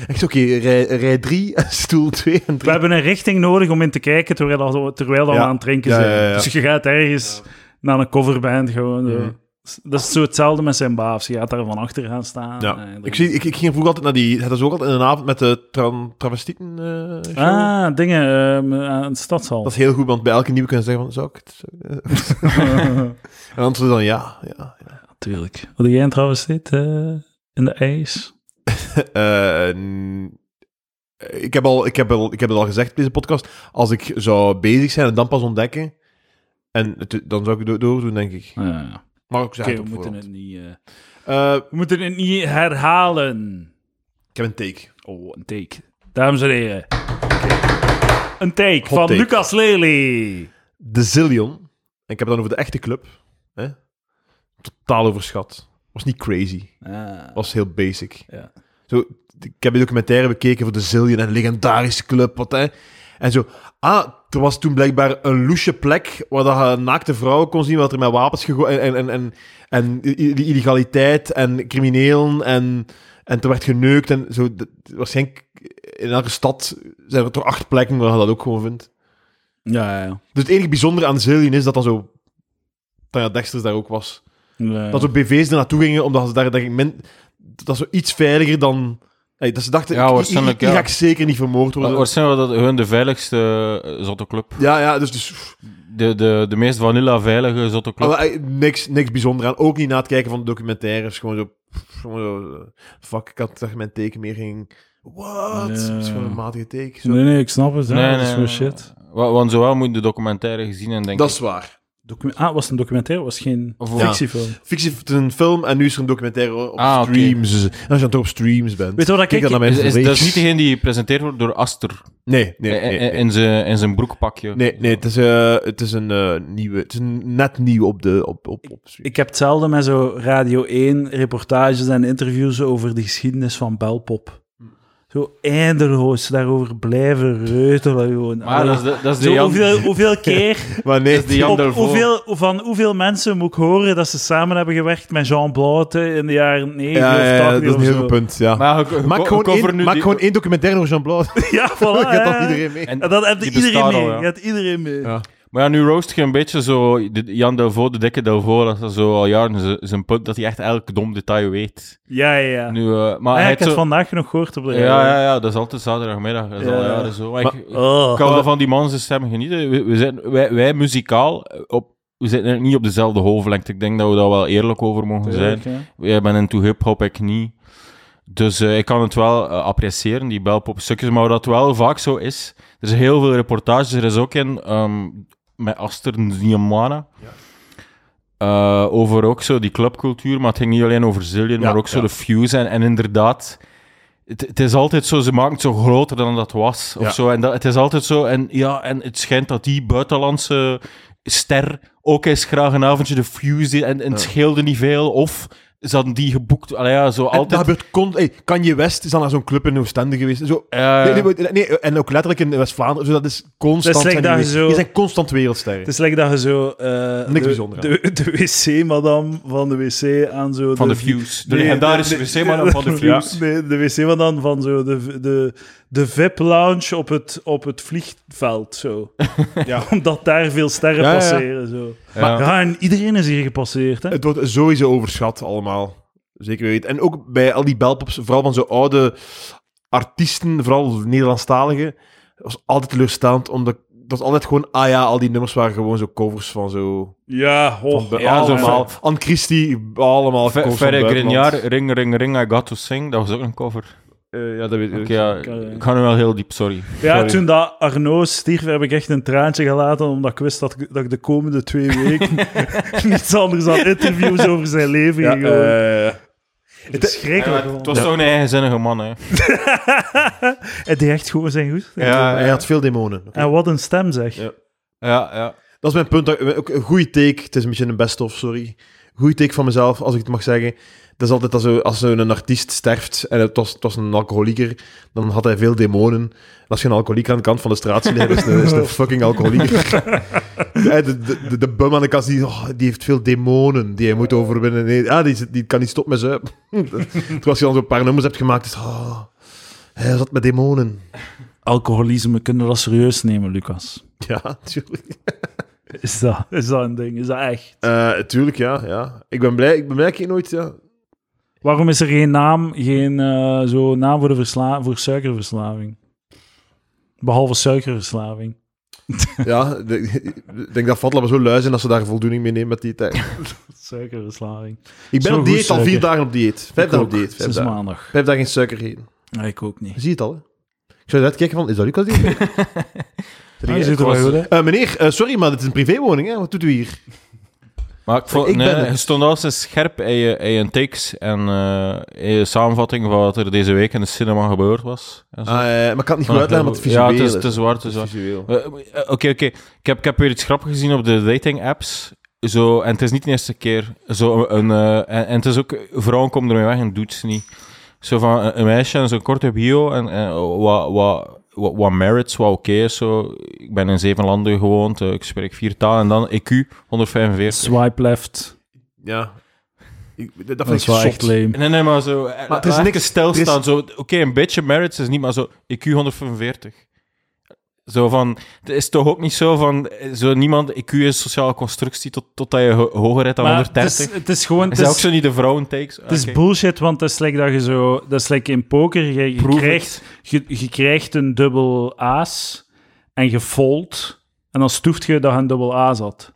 Echt, oké, rij- rij 3, stoel 2 en We 3. hebben een richting nodig om in te kijken terwijl, dat- terwijl dat we Ja. aan het drinken Ja, zijn. ja, ja. Dus je gaat ergens naar een coverband gewoon. zo. Dat is zo hetzelfde met zijn baas. Je gaat daar van achter gaan staan. Ja. Eh, dat- Ik, zie, ik, ik ging vroeger altijd naar die... Het is ook altijd in een avond met de tran, travestieten eh, show. Ah, dingen ehm, aan het stadshal. Dat is heel goed, want bij elke nieuwe kunnen ze zeggen van... Zou ik het... zou ik het?" en dan antwoord dan ja. ja, ja. Natuurlijk. Wat jij trouwens dit eh, in de ijs? Eh, n- ik, heb al, ik, heb al, ik heb het al gezegd in deze podcast. Als ik zou bezig zijn en dan pas ontdekken... En het- dan zou ik het do- doordoen, denk ik. Maar ik Ah, Oké, zeg het we op moeten voorhand. het niet. eh, Eh, we moeten het niet herhalen. ik heb een take. Oh, een take. Dames en heren. Een take van take. Lucas Lely. De Zillion. En ik heb het dan over de echte club. Hè? Totaal overschat. Was niet crazy. Ah. Was heel basic. Ja. Zo, ik heb een documentaire bekeken voor de Zillion, een legendarische club. Wat, hè? En zo, ah, er was toen blijkbaar een loesje plek waar dat je naakte vrouwen kon zien, wat er met wapens gegooid en, en, en, en i- i- die illegaliteit en criminelen en, en er werd geneukt en zo. Dat- Waarschijnlijk in elke stad zijn er toch acht plekken waar je dat ook gewoon vindt. Ja, ja, ja. Dus het enige bijzondere aan Zillion is dat dat zo... Tanja Dexters daar ook was. Ja. Dat zo BV's er naartoe gingen, omdat ze daar denk ik min... Dat is zo iets veiliger dan... hè, Hey, dat ze dachten, Ja, ik- waarschijnlijk, ik, ik, ja. ga ik zeker niet vermoord worden. Waarschijnlijk was dat hun de veiligste eh, zotte club. ja, ja, dus, dus pff, De, de, de meest vanilla veilige zotte club. maar, eh, niks, niks bijzonder aan. Ook niet na het kijken van de documentaires. Gewoon zo, pff, gewoon zo eh, fuck, ik had gedacht dat mijn teken meer ging... Wat? Het is gewoon een matige teken. Zo. Nee, nee, ik snap het. hè. Nee, dat is nee, gewoon nee. shit. Wa- Want zowel moet je de documentaire gezien en denk Dat ik- is waar. Docu- ah, het was een documentaire, het was geen Of- Ja. fictiefilm. Fictie het is een film en nu is er een documentaire op Ah, oké. streams. En als je dan toch op streams bent... Weet je wat ik- kijk dan naar Is, mensen is- van dat is niet rechts. degene die gepresenteerd wordt door Aster Nee, nee, eh, nee, eh, in zijn- in zijn broekpakje. Nee, nee het, is, eh, het is een eh, nieuwe. Het is een- net nieuw op de. Op, op, op Ik heb hetzelfde met zo Radio 1 reportages en interviews over de geschiedenis van Belpop. Zo eindeloos daarover blijven reutelen gewoon. Maar dat is de, dat is de Zo, Jan, hoeveel, hoeveel keer, maar nee, dat is de Jan op daarvoor. hoeveel, van hoeveel mensen moet ik horen dat ze samen hebben gewerkt met Jean Blaute in de jaren 90 ja, ja, ja, of 80 dat is een of heel zo. goed punt. Ja. Maar ik, ik, maak gewoon, één, nu maak die- gewoon één documentaire over Jean-Blanc. Ja, voilà. dat Oh, gaat ja. dan iedereen mee. en- En dat hebt die iedereen bestaat mee. al, ja. Je hebt iedereen mee. Ja. Maar ja, nu roast je een beetje zo de, Jan Delvaux, de dikke Delvaux, dat is zo al jaren z- zijn punt, dat hij echt elk dom detail weet. Ja, ja, ja. Nu, eh, Ah, maar ja, hij ik heeft heb het zo- vandaag nog gehoord op de radio. Ja, ja, ja, dat is altijd zaterdagmiddag. Dat is al Ja. jaren zo. Maar Maar- ik, ik Oh. kan wel van die man zijn stem genieten. We, we zijn, wij, wij muzikaal, eh, op, we zitten eigenlijk niet op dezelfde golflengte. Ik denk dat we daar wel eerlijk over mogen zijn. Tuurlijk, hè. Jij bent into hip-hop, ik niet. Dus eh, ik kan het wel eh, appreciëren, die belpop stukjes. Maar wat wel vaak zo is, er zijn heel veel reportages. Er is ook in ehm, met Aster Niemana. Eh, over ook zo die clubcultuur, maar het ging niet alleen over Zillion, Ja, maar ook zo ja. de Fuse. En, en inderdaad, het, het is altijd zo, ze maken het zo groter dan dat was. Of Ja. zo. En dat, het is altijd zo, en ja, en het schijnt dat die buitenlandse ster ook eens graag een avondje de Fuse deed en, en het scheelde niet veel. Of ze hadden die geboekt, allee, ja, zo En Dat altijd. gebeurt con- hey, Kanye West is dan naar zo'n club in Oostende geweest. en Zo. eh, Ja, Nee, nee, nee, nee, en ook letterlijk in West-Vlaanderen. Zo, dat is constant. Dat is like zijn daar die- zo- Die zijn constant wereldsterren. Het is lekker dat je zo eh, Niks de, bijzonder aan. de, de wc-madam van de wc aan zo... Van de Fuse. De legendarische wc-madam van de Fuse. De, de wc-madam van zo de, de, de VIP-lounge op het, op het vliegveld, zo. Ja. Omdat daar veel sterren Ja, ja, ja. passeren, zo. Ja. Ja, en iedereen is hier gepasseerd, hè. Het wordt sowieso overschat allemaal. Zeker weten. En ook bij al die belpops, vooral van zo'n oude artiesten, vooral Nederlandstaligen, was altijd teleurstellend, omdat dat was altijd gewoon, ah ja, al die nummers waren gewoon zo covers van zo... Ja, hoor. Van- ja, zo allemaal. Anne Christie, allemaal Ver- covers van Verre buitenland. Grignard, Ring Ring Ring, I Got To Sing, dat was ook een cover. Eh, ja, dat weet ik. Oké, ja, ik, eh, ik ga nu wel heel diep, sorry. Ja, Sorry. toen dat Arnaud stierf, heb ik echt een traantje gelaten, omdat ik wist dat ik, dat ik de komende twee weken niets anders dan interviews over zijn leven Ja, ging horen. eh, Verschrikkelijk. gewoon. Het was toch een eigenzinnige man, hè. Hij deed echt gewoon zijn goed. Ja, hij had veel demonen. Oké. En wat een stem, zeg. Ja. Ja, ja. Dat is mijn punt. dat- Ook een goede take. Het is een beetje een best-of, sorry. Goede take van mezelf, als ik het mag zeggen. Dat is altijd als, zo- als zo'n artiest sterft en het was, het was een alcoholieker, dan had hij veel demonen. En als je een alcoholieker aan de kant van de straat ziet, liggen, is het een, is het een fucking alcoholieker. Hè, de, de, de, de bum aan de kast, die, oh, die heeft veel demonen die hij moet overwinnen. Nee, ah, die, zit- die kan niet stoppen met zuipen. Terwijl als je dan zo'n paar nummers hebt gemaakt, is het, oh, hij zat met demonen. Alcoholisme, kunnen we dat serieus nemen, Lucas? Ja, natuurlijk. Is dat, is dat een ding? Is dat echt? Eh, tuurlijk, ja, ja. Ik ben blij, ik ben blij dat ik hier nooit... Ja, Waarom is er geen naam, geen eh, zo naam voor, de versla voor suikerverslaving? Behalve suikerverslaving. Ja, de- ik denk dat Fatlab zo lui zijn dat ze daar voldoening mee nemen met die tijd. Suikerverslaving. Ik ben Zo op goed dieet, al vier suiker. dagen op dieet. Vijf dagen op dieet. Vijf Sinds dagen. maandag. vijf dagen geen suiker eten. Nee, ik ook niet. Je ziet het al, hè. Ik zou eruit kijken van, is dat Lucas die? het eet? Zit er Ah, je geen- zit er wel was- goed, hè? Eh, meneer, eh, sorry, maar dit is een privéwoning, hè? Wat doet u hier? Maar ik vond, Ik ben nee, het. je stond al eens scherp in je, in je takes en eh, in je samenvatting van wat er deze week in de cinema gebeurd was. En zo. Ah, eh, maar ik kan het niet goed uitleggen, want het visueel Ja, het is, is. het is waar, het is Het waar. is visueel. Eh, eh, Oké, oké. Ik, heb, ik heb weer iets grappigs gezien op de dating apps. Zo, en het is niet de eerste keer. Zo een, eh, en, en het is ook, vrouwen komen ermee weg en doet ze niet. Zo van een, een meisje en zo'n korte bio en, en wat, wat, wat, wat merits, wat oké is. Zo. Ik ben in zeven landen gewoond, eh, ik spreek vier talen en dan E EQ 145. Swipe left. Ja. Ik, dat- dat Dat vind is ik wel zot. echt lame. Nee, nee, maar zo. eh, Maar er is laat niks- even stilstaan. er is- Zo, Oké, een beetje merits is niet, maar zo EQ 145. Zo van, het is toch ook niet zo van, eh, zo niemand, IQ is sociale constructie tot, totdat je ho- hoger hebt dan Maar het, 130. is, het is gewoon... Het is dat is, ook zo niet de Ah, vrouwen takes? het is bullshit, want het is like dat je zo... Dat is like in poker. Je, je Prove it. krijgt, je, je krijgt een dubbel aas en je fold. En dan stoeft je dat je een dubbel aas had.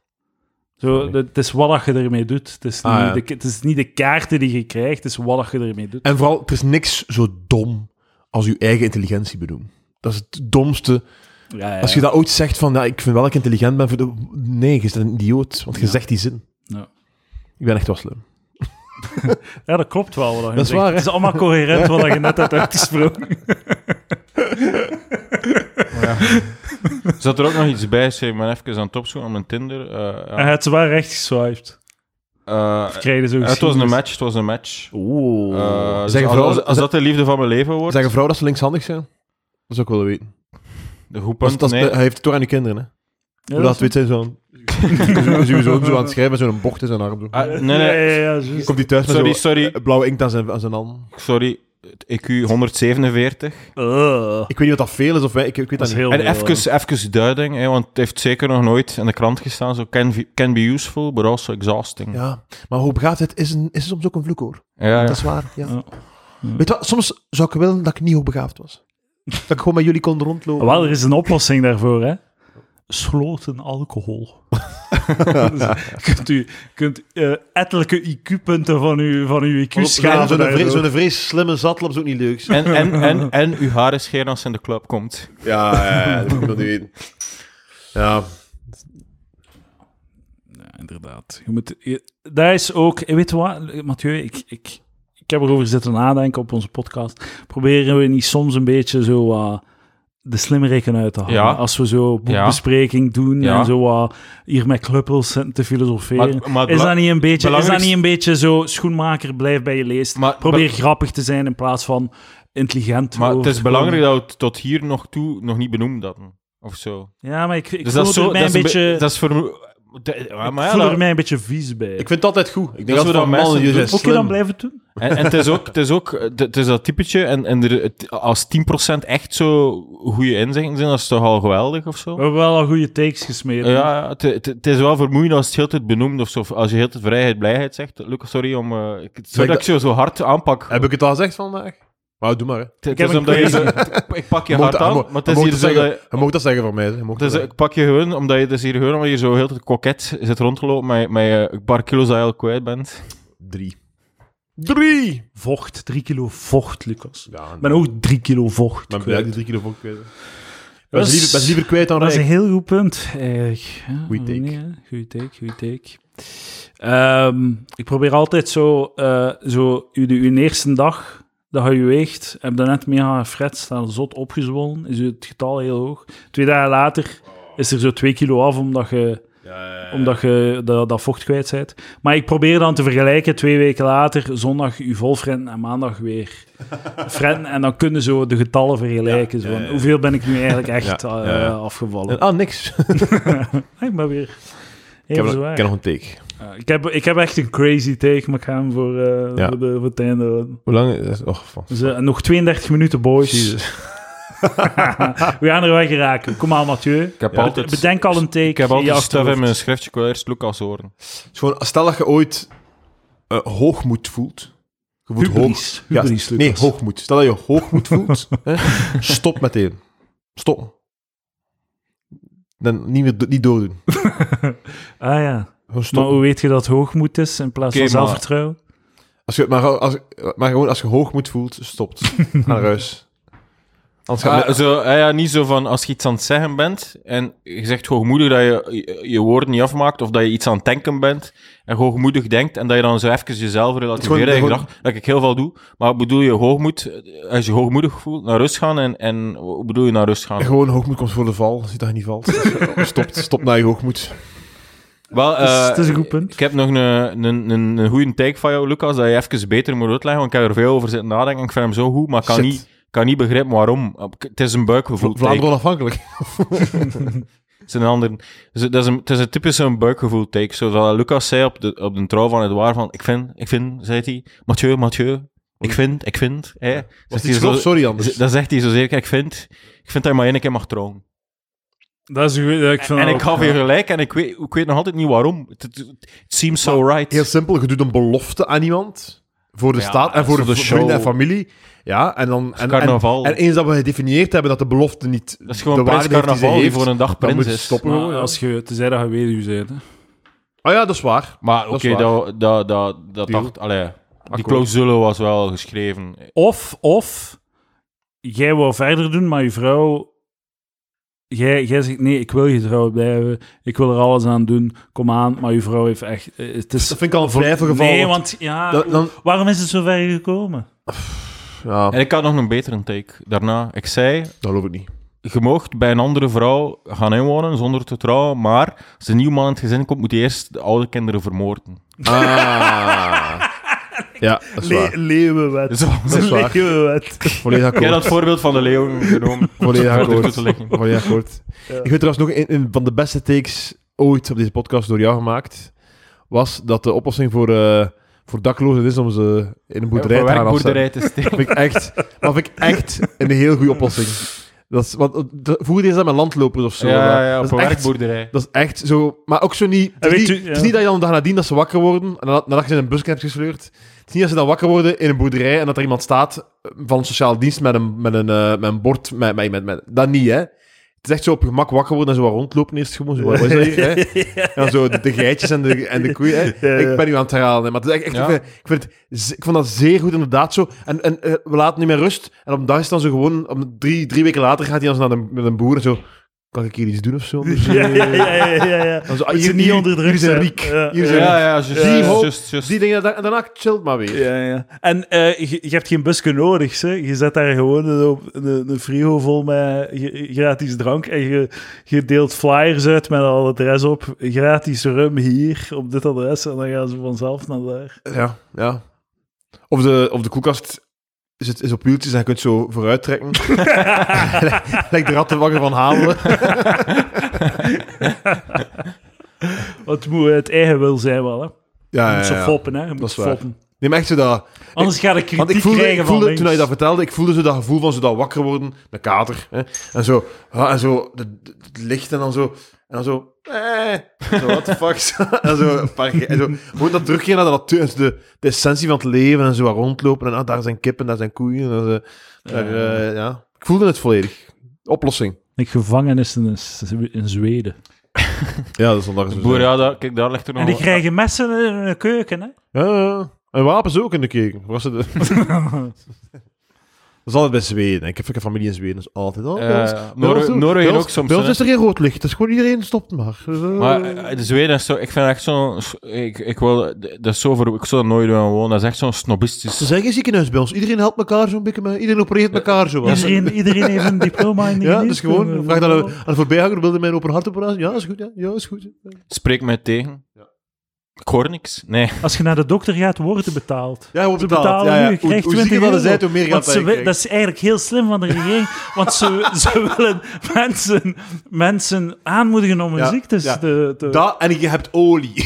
Zo, dat- het is wat dat je ermee doet. Het is, Ah, niet ja. de, het is niet de kaarten die je krijgt, het is wat dat je ermee doet. En vooral, er is niks zo dom als je eigen intelligentie bedoelen. Dat is het domste. Ja, ja, Als je dat ooit zegt van, ja, ik vind wel dat ik intelligent ben. voor de- Nee, je bent een idioot, want je zegt die zin. Ja. Ik ben echt wel slim. Ja, dat klopt wel. Wat dat is waar, hè? Het is allemaal coherent wat je net hebt uitgesproken. Zat er ook nog iets bij, zeg maar even aan het opzoeken op mijn Tinder. eh, ja. Hij had ze wel recht geswiped. Eh, Kregen ze ook eh, het was een geschiedenis. match, het was een match. Oeh. Eh, dus zeg een als, vrouw, als, als dat de liefde van mijn leven wordt, zeg een vrouw dat ze linkshandig zijn? Dat zou ik willen weten. de goed Dat is- punt, dat is- nee. Hij heeft het door aan die kinderen, hè? Ja, dat Hoe dat weet zijn zo'n... Sowieso zo aan het schrijven, zo'n bocht in zijn arm. Zo. Ah, is- nee, nee, Ja, ja, ja, juist. Komt hij thuis met sorry, zo sorry, blauwe inkt aan zijn, aan zijn hand. sorry. Het IQ 147. Ugh. Ik weet niet wat dat veel is, of wij- ik, ik weet Dat dat, is niet. heel En veel, eh, hè. even, even duiding, hè, want het heeft zeker nog nooit in de krant gestaan. Zo can, be- can be useful, but also exhausting. Ja, Ja, maar hoe begaafd het is, een, is soms ook een vloek, hoor. ja. Dat is waar, ja. Ja. Weet je wat, soms zou ik willen dat ik niet hoogbegaafd was. Dat ik gewoon met jullie kon rondlopen. Wel, er is een oplossing daarvoor, hè. Sloten alcohol. Dus kunt u kunt eh ettelijke IQ-punten van uw, van uw IQ Ja, schrijven. Zo'n vre- daardoor. zo'n vrees slimme zatlap is ook niet leuk. En, en, en, en uw haren scheren als ze in de club komt. Ja, dat moet ik nog niet weten. Ja. Ja, inderdaad. Je moet, je- daar is ook... je Weet je wat, eh, Mathieu? Ik, ik, ik heb erover zitten nadenken op onze podcast. Proberen we niet soms een beetje zo... eh, de slimmereken uit te halen. Ja. Als we zo Ja. boekbespreking doen Ja. en zo eh, hier met kluppels zitten te filosoferen. Maar- maar het is, bela- dat niet een beetje, is dat belangrijkste- niet een beetje zo schoenmaker, blijf bij je leest. Maar- Probeer be- grappig te zijn in plaats van intelligent. Maar het over is te belangrijk dat we het tot hier nog toe nog niet benoemd hadden. Of zo. komen. Ja, maar ik, ik Dus voel dat is er zo. mij Dat is, een een be- beetje... dat is voor. de- maar- maar ik ja, voel dat- er mij een beetje vies bij. Ik vind het altijd goed. Ik denk Dat dat, we we dat Oh. van mannen, mensen je doen. bent Oké, slim. dan blijven het doen. En, en het is ook, het is ook eh, het is dat typetje. En, en er, het- als 10% echt zo goede inzichten zijn, dat is toch al geweldig of zo? We hebben wel al goede takes gesmeden. Ja, het, het, het is wel vermoeiend als het heel tijd benoemd of zo. Of als je heel tijd vrijheid, blijheid zegt. Lucas, sorry om. eh ik, sorry dat ik dat- zo, zo hard aanpak. Heb ik het al gezegd vandaag? Maar doe maar. Hè. Het- het heb is een omdat je quiz. zo- ik- ik pak je Hij hard mocht- aan. hij ah, mo- Maar het hij is mocht hier dat zo. zeggen- dat- Hij mocht dat zeggen voor mij. hè. Hij mocht Het is, dat ik pak je gewoon omdat je het is hier gewoon omdat je zo heel tijd koket zit rond te lopen met, met eh, een paar kilo's dat je al kwijt bent. zeggen. Drie. Drie! Vocht, drie kilo vocht, Lucas. Ja, Ik ben ook drie kilo vocht. maar ben kwijt. ik die drie kilo volk kwijt. Dat is- Dat is liever, dat is liever kwijt dan dat is een rijk. heel goed punt. eigenlijk. Ja, Goeie take. nee, hè. goeie take, goeie take. Ehm, ik probeer altijd zo, eh zo u- de, uw eerste dag dat je je weegt, heb je net mee aan Fred staan zot opgezwollen, is het getal heel hoog. Twee dagen later is er zo twee kilo af omdat je, omdat je dat, dat vocht kwijt bent. Maar ik probeer dan te vergelijken twee weken later, zondag u vol fretten en maandag weer fretten. En dan kunnen zo de getallen vergelijken. zo van, Hoeveel ben ik nu eigenlijk echt Ja, eh, ja, ja. afgevallen? En- Ah, niks. Hey, maar Ah, weer. Ik Even heb, nog- zwaar. ik heb nog een take. Ja, ik, heb, ik heb echt een crazy take, maar ik ga hem voor, eh, Ja. voor, de, voor het einde houden. Hoe lang? oh, is- Och, van. Dus, eh, nog 32 minuten, boys. Jezus. We gaan er weg raken. Kom aan, Mathieu. Ik heb Ja. altijd, Bedenk al een take. ik heb altijd stuff in achterhoofd. mijn schriftje. Ik wil eerst Lucas horen. Het is gewoon, stel dat je ooit eh, hoogmoed voelt. Je voelt hoog, Hubris. Ja, Hubris, nee, Lucas. hoogmoed. Stel dat je hoogmoed voelt, hè, stop meteen. Stop. Dan niet, meer, do- niet doordoen. Ah ja. Gewoon Maar stop. hoe weet je dat hoogmoed is in plaats Oké, van maar- zelfvertrouwen? Als je, maar, als, maar gewoon als je hoogmoed voelt, stopt. Ga naar huis. Anders Ja, gaat maar zo, ah ja, niet zo van als je iets aan het zeggen bent en je zegt hoogmoedig dat je je, je woorden niet afmaakt of dat je iets aan het denken bent en hoogmoedig denkt en dat je dan zo even jezelf relativeert Gewoon- en je gewoon- gedrag, dat ik heel veel doe. Maar bedoel je hoogmoed, eh, als je hoogmoedig voelt, naar rust gaan en, en wat bedoel je naar rust gaan? Gewoon hoogmoed komt voor de val. Ziet dat je niet valt. Stopt. Stop naar je hoogmoed. Wel, is- eh, het is een goed punt. Ik heb nog een, een, een, een goede take van jou, Lucas, dat je even beter moet uitleggen, want ik heb er veel over zitten nadenken. Ik vind hem zo goed, maar ik kan Shit. niet, kan niet begrijpen waarom. Het is een buikgevoel. take. Vlaanderen onafhankelijk. Het is een ander. dus het is een, het is een typische een buikgevoel take. Zoals Lucas zei op de, op de trouw van het waar van ik vind, ik vind, zei hij. Mathieu, Mathieu, ik vind, ik vind. Hè. Mm. Was Zegt iets hij zo- grof, sorry anders. z- dan zegt hij zo zeker, ik vind, ik vind dat je maar één keer mag trouwen. Dat is een goeie- ik Oh, vind En dat ik ook- gaf weer gelijk en ik weet, ik weet nog altijd niet waarom. Het, het- het seems so right. Heel simpel, je doet een belofte aan iemand voor de Ja, staat en dat voor is de voor de vrienden en show. familie. Ja, en dan... En, en, carnaval. en eens dat we gedefinieerd hebben dat de belofte niet dat is gewoon de prins waarde heeft die ze carnaval die heeft, voor een dag dan prins moet je is. stoppen. Maar als je, tenzij dat je weduwe bent. hè. Ah ja, dat is waar. Maar Dat oké, is waar. dat, dat, dat, dat Deal. dacht... Allee, die Akkoord. clausule was wel geschreven. Of, of, jij wou verder doen, maar je vrouw... Jij, jij zegt, nee, ik wil getrouwd blijven. Ik wil er alles aan doen. Kom aan, maar je vrouw heeft echt... eh, Het is Dus Dat vind ik al een twijfelgeval. Nee, want- want ja, dat- dan- waarom is het zo ver gekomen? Ja, En ik had nog een betere take daarna. Ik zei, dat geloof ik niet. je moogt bij een andere vrouw gaan inwonen zonder te trouwen, maar als een nieuw man in het gezin komt, moet hij eerst de oude kinderen vermoorden. Ah. ja, dat is waar. leeuwenwet. Dus dat was Dat is waar. Leeuwenwet. Volledig Ik heb akkoord. dat voorbeeld van de leeuwen genomen. Volledig Verder toe akkoord. te leggen. Volledig akkoord. Ik weet trouwens nog, een, een van de beste takes ooit op deze podcast door jou gemaakt, was dat de oplossing voor, eh, voor daklozen is om ze in een boerderij te Een gaan werkboerderij afzetten. te steken. Dat vind ik echt, maar vind ik echt een heel goede oplossing. Dat is, want eh, de- vroeger deden ze dat met landlopers of zo. Ja, ja, dat op is een echt- werkboerderij. Dat is echt zo. Maar ook zo niet. Het En is weet niet, u- het is ja. niet dat je dan de dag nadien dat ze wakker worden. En nadat, nadat je ze in een busje hebt gesleurd. Het is niet dat ze dan wakker worden in een boerderij. En dat er iemand staat van een sociale dienst met een, met een, eh, met een bord. Met, met, met, met- dat niet, hè? Het is echt zo op je gemak wakker worden en zo wat rondlopen eerst gewoon. Zo, wat is dat hier, hè? En dan zo de, de geitjes en de, en de koeien. Hè? Ja, ja. Ik ben nu aan het herhalen, hè, maar het is echt, echt Ja. ik, vind het, ze- ik vond dat zeer goed, inderdaad zo. En, en eh, we laten niet meer rust. En op een dag is het dan zo gewoon, om drie, drie weken later gaat hij dan zo naar de, met een boer en zo... Kan ik hier iets doen of zo? Ja, ja, ja, ja, ja, ja. Dan zo, ah, Dat ze hier, niet hier- onder druk hier is zijn. een riek. Ja. Hier is een- Ja, ja, just, Die just, hoop- just, just. Dus Die dingen, da- en daarna chillt maar weer. Ja, ja. En eh, je, je hebt geen busje nodig, ze. Je zet daar gewoon een, een, een frigo vol met g- gratis drank en je, je deelt flyers uit met al het adres op. Gratis rum hier, op dit adres. En dan gaan ze vanzelf naar daar. Ja, ja. Of de, of de koelkast is, het, is op wieltjes en je kunt zo vooruit trekken. Lijkt de rattenwakker van Hamelen. Want het moet uit eigen wil zijn wel, hè. Ja, Je ja, moet ze ja. foppen, hè. Je moet Dat is ze waar. foppen. Neem echt zo dat... Anders ga ik Want kritiek ik voelde, krijgen ik voelde van toen je dat links. vertelde, ik voelde zo dat gevoel van zo dat wakker worden, de kater. Hè? En zo, ah, en zo de, de- het licht en dan zo... En dan zo... Eh, zo, what the fuck. en zo, een paar ge- en zo, gewoon dat teruggaan naar dat, de, de essentie van het leven en zo wat rondlopen. En ah, daar zijn kippen, daar zijn koeien. En dan zo, daar, eh, ja. Ik voelde het volledig. Oplossing. Een gevangenis in, in Zweden. Ja, dat is dan zo Boer, ja, daar, kijk, daar ligt er nog En die Oh. wel- krijgen messen in hun keuken, hè. Ja, ja. En wapens ook in de keuken. Was het, dat is altijd bij Zweden. Ik heb een familie in Zweden, dat is altijd al. Eh, bij ons- Noor- bij ons- Noorwegen bij ons- ook soms, Bij ons hè. is er geen rood licht, dat is gewoon iedereen stopt maar. Eh, Maar eh, de Zweden is zo, ik vind echt zo'n, ik, ik wil, dat is zo ver, ik zou dat nooit willen wonen, dat is echt zo'n snobistisch. er zijn geen ziekenhuis bij ons. Iedereen helpt elkaar zo'n beetje, mee. iedereen opereert elkaar zo. wel. Iedereen, iedereen heeft een diploma in de Ja, geneeskunde. dus gewoon, vraag dan aan aan de voorbijganger, wilde mijn open hartoperatie? Ja, is goed, ja, ja is goed. Spreek mij tegen. Ik hoor niks. Nee. Als je naar de dokter gaat, wordt er betaald. Ja, wordt Ze betalen Ja, ja. nu, je Hoe, krijgt hoe 20 zieker dat euro. je zijt, hoe meer Want geld ze je wi- dat krijgt. is eigenlijk heel slim van de regering, want ze, ze willen mensen, mensen aanmoedigen om hun Ja, ziektes ja. te... te- Dat, en je hebt olie.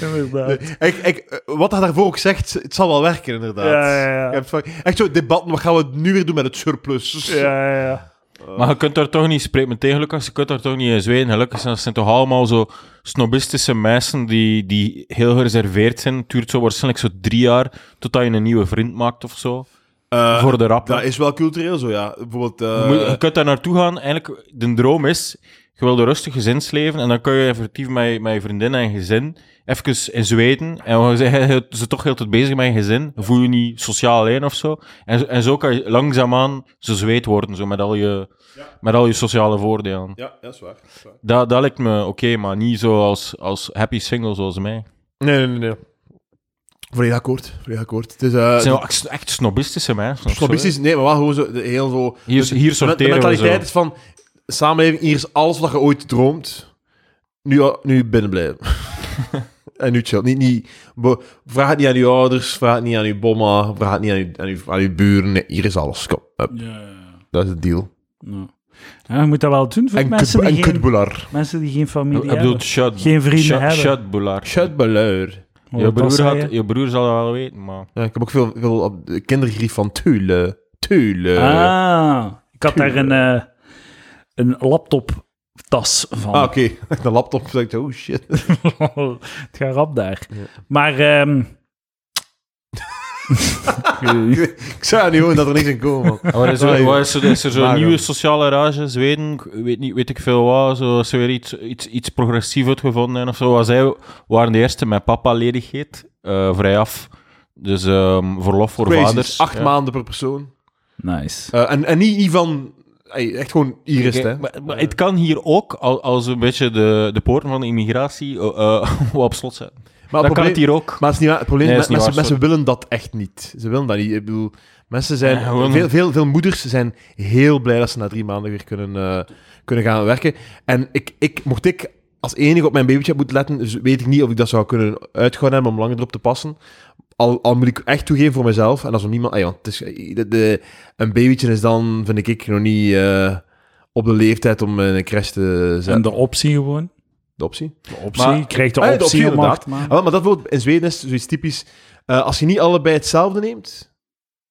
inderdaad. Ik, ik, eh, wat hij daarvoor ook zegt, het zal wel werken, inderdaad. Ja, ja, ja. Je hebt vaak- echt zo, debatten, wat gaan we nu weer doen met het surplus? Ja, ja, ja. Oh. Maar je kunt daar toch niet, spreek me tegen, Lucas, je kunt daar toch niet in Zweden gelukkig zijn. Dat zijn toch allemaal zo snobistische mensen die, die heel gereserveerd zijn. Het duurt zo waarschijnlijk zo drie jaar totdat je een nieuwe vriend maakt of zo. Eh, voor de rap. Dat is wel cultureel zo, ja. Bijvoorbeeld... eh, Je moet- je kunt daar naartoe gaan. Eigenlijk, de droom is, je wil een rustig gezinsleven en dan kun je effectief met je, met je vriendin en gezin even in Zweden. En we zijn ze toch heel tijd bezig met je gezin. Voel je niet sociaal alleen of zo. En, zo- en zo kan je langzaamaan zo zweet worden, zo met al je, met al je sociale voordelen. Ja, dat is waar. dat is waar. Dat, dat lijkt me oké, maar niet zo als, als happy single zoals mij. Nee, nee, nee. nee. Volledig akkoord. Volledig akkoord. Het is... eh, Het zijn wel echt, echt snobistische mensen. of zo, hè. Snobistisch, nee, maar wel gewoon zo, de- heel zo... Hier- dus hier sorteren De, de mentaliteit we is van, samenleving, hier is alles wat je ooit droomt, nu, al- nu binnen blijven. en nu chill. Niet, niet, bo- vraag het niet aan je ouders, vraag het niet aan je bomma, vraag het niet aan je, aan je, aan je buren. Nee, hier is alles. Kom, hup, dat is het deal. Ja. Ja, je moet dat wel doen voor En, mensen, kut, en die geen, kutboelar. mensen die geen familie Ik hebben. bedoel, shut, Geen vrienden shut, hebben. shut, boelaar. Kutboelar. Hoor Je wat broer, zei had, je? je broer zal dat wel weten, maar... Ja, ik heb ook veel, veel op de kindergrief van Tulle. Teulen. ah, ik had daar een, eh, een laptoptas van. Ah, oké. De laptop zegt, oh shit. het gaat rap daar. Maar ehm, ik zou nu gewoon dat er niks in komen, man. Maar Oh, is, er, Sorry. wat is er, is er zo'n Maar, nieuwe joh. sociale rage, Zweden, ik weet, niet, weet ik veel wat, zo, is er weer iets, iets, iets progressief uitgevonden en of zo. Als zij waren de eerste met papa ledigheid, eh vrijaf. Dus ehm, verlof voor Crazy. vaders. Acht Ja. maanden per persoon. nice. Eh, en, en niet, niet van... ey, echt gewoon hier is het, hè. Kijk, maar, maar het kan hier ook, al- als we een beetje de, de poorten van de immigratie eh, eh, wat op slot zetten. Maar Dan het kan het probleem, hier ook. maar het is niet waar. Het probleem Nee, is, is niet mensen, waar, mensen willen dat echt niet. Ze willen dat niet. Ik bedoel, mensen zijn... Ja, gewoon- veel, veel, veel moeders zijn heel blij dat ze na drie maanden weer kunnen, eh, kunnen gaan werken. En ik, ik, mocht ik als enige op mijn babytje moeten letten, dus weet ik niet of ik dat zou kunnen uitgehouden hebben om langer erop te passen. Al, al moet ik echt toegeven voor mezelf. En als er niemand... ey, want het is, de, de- een babytje is dan, vind ik, ik nog niet... eh, op de leeftijd om in een crash te zetten. En de optie gewoon. De optie. De optie. Maar- je krijgt de Ah, ja, optie, de optie, om inderdaad. acht maanden. Ah, wel, maar dat wordt in Zweden is zoiets typisch. eh, als je niet allebei hetzelfde neemt,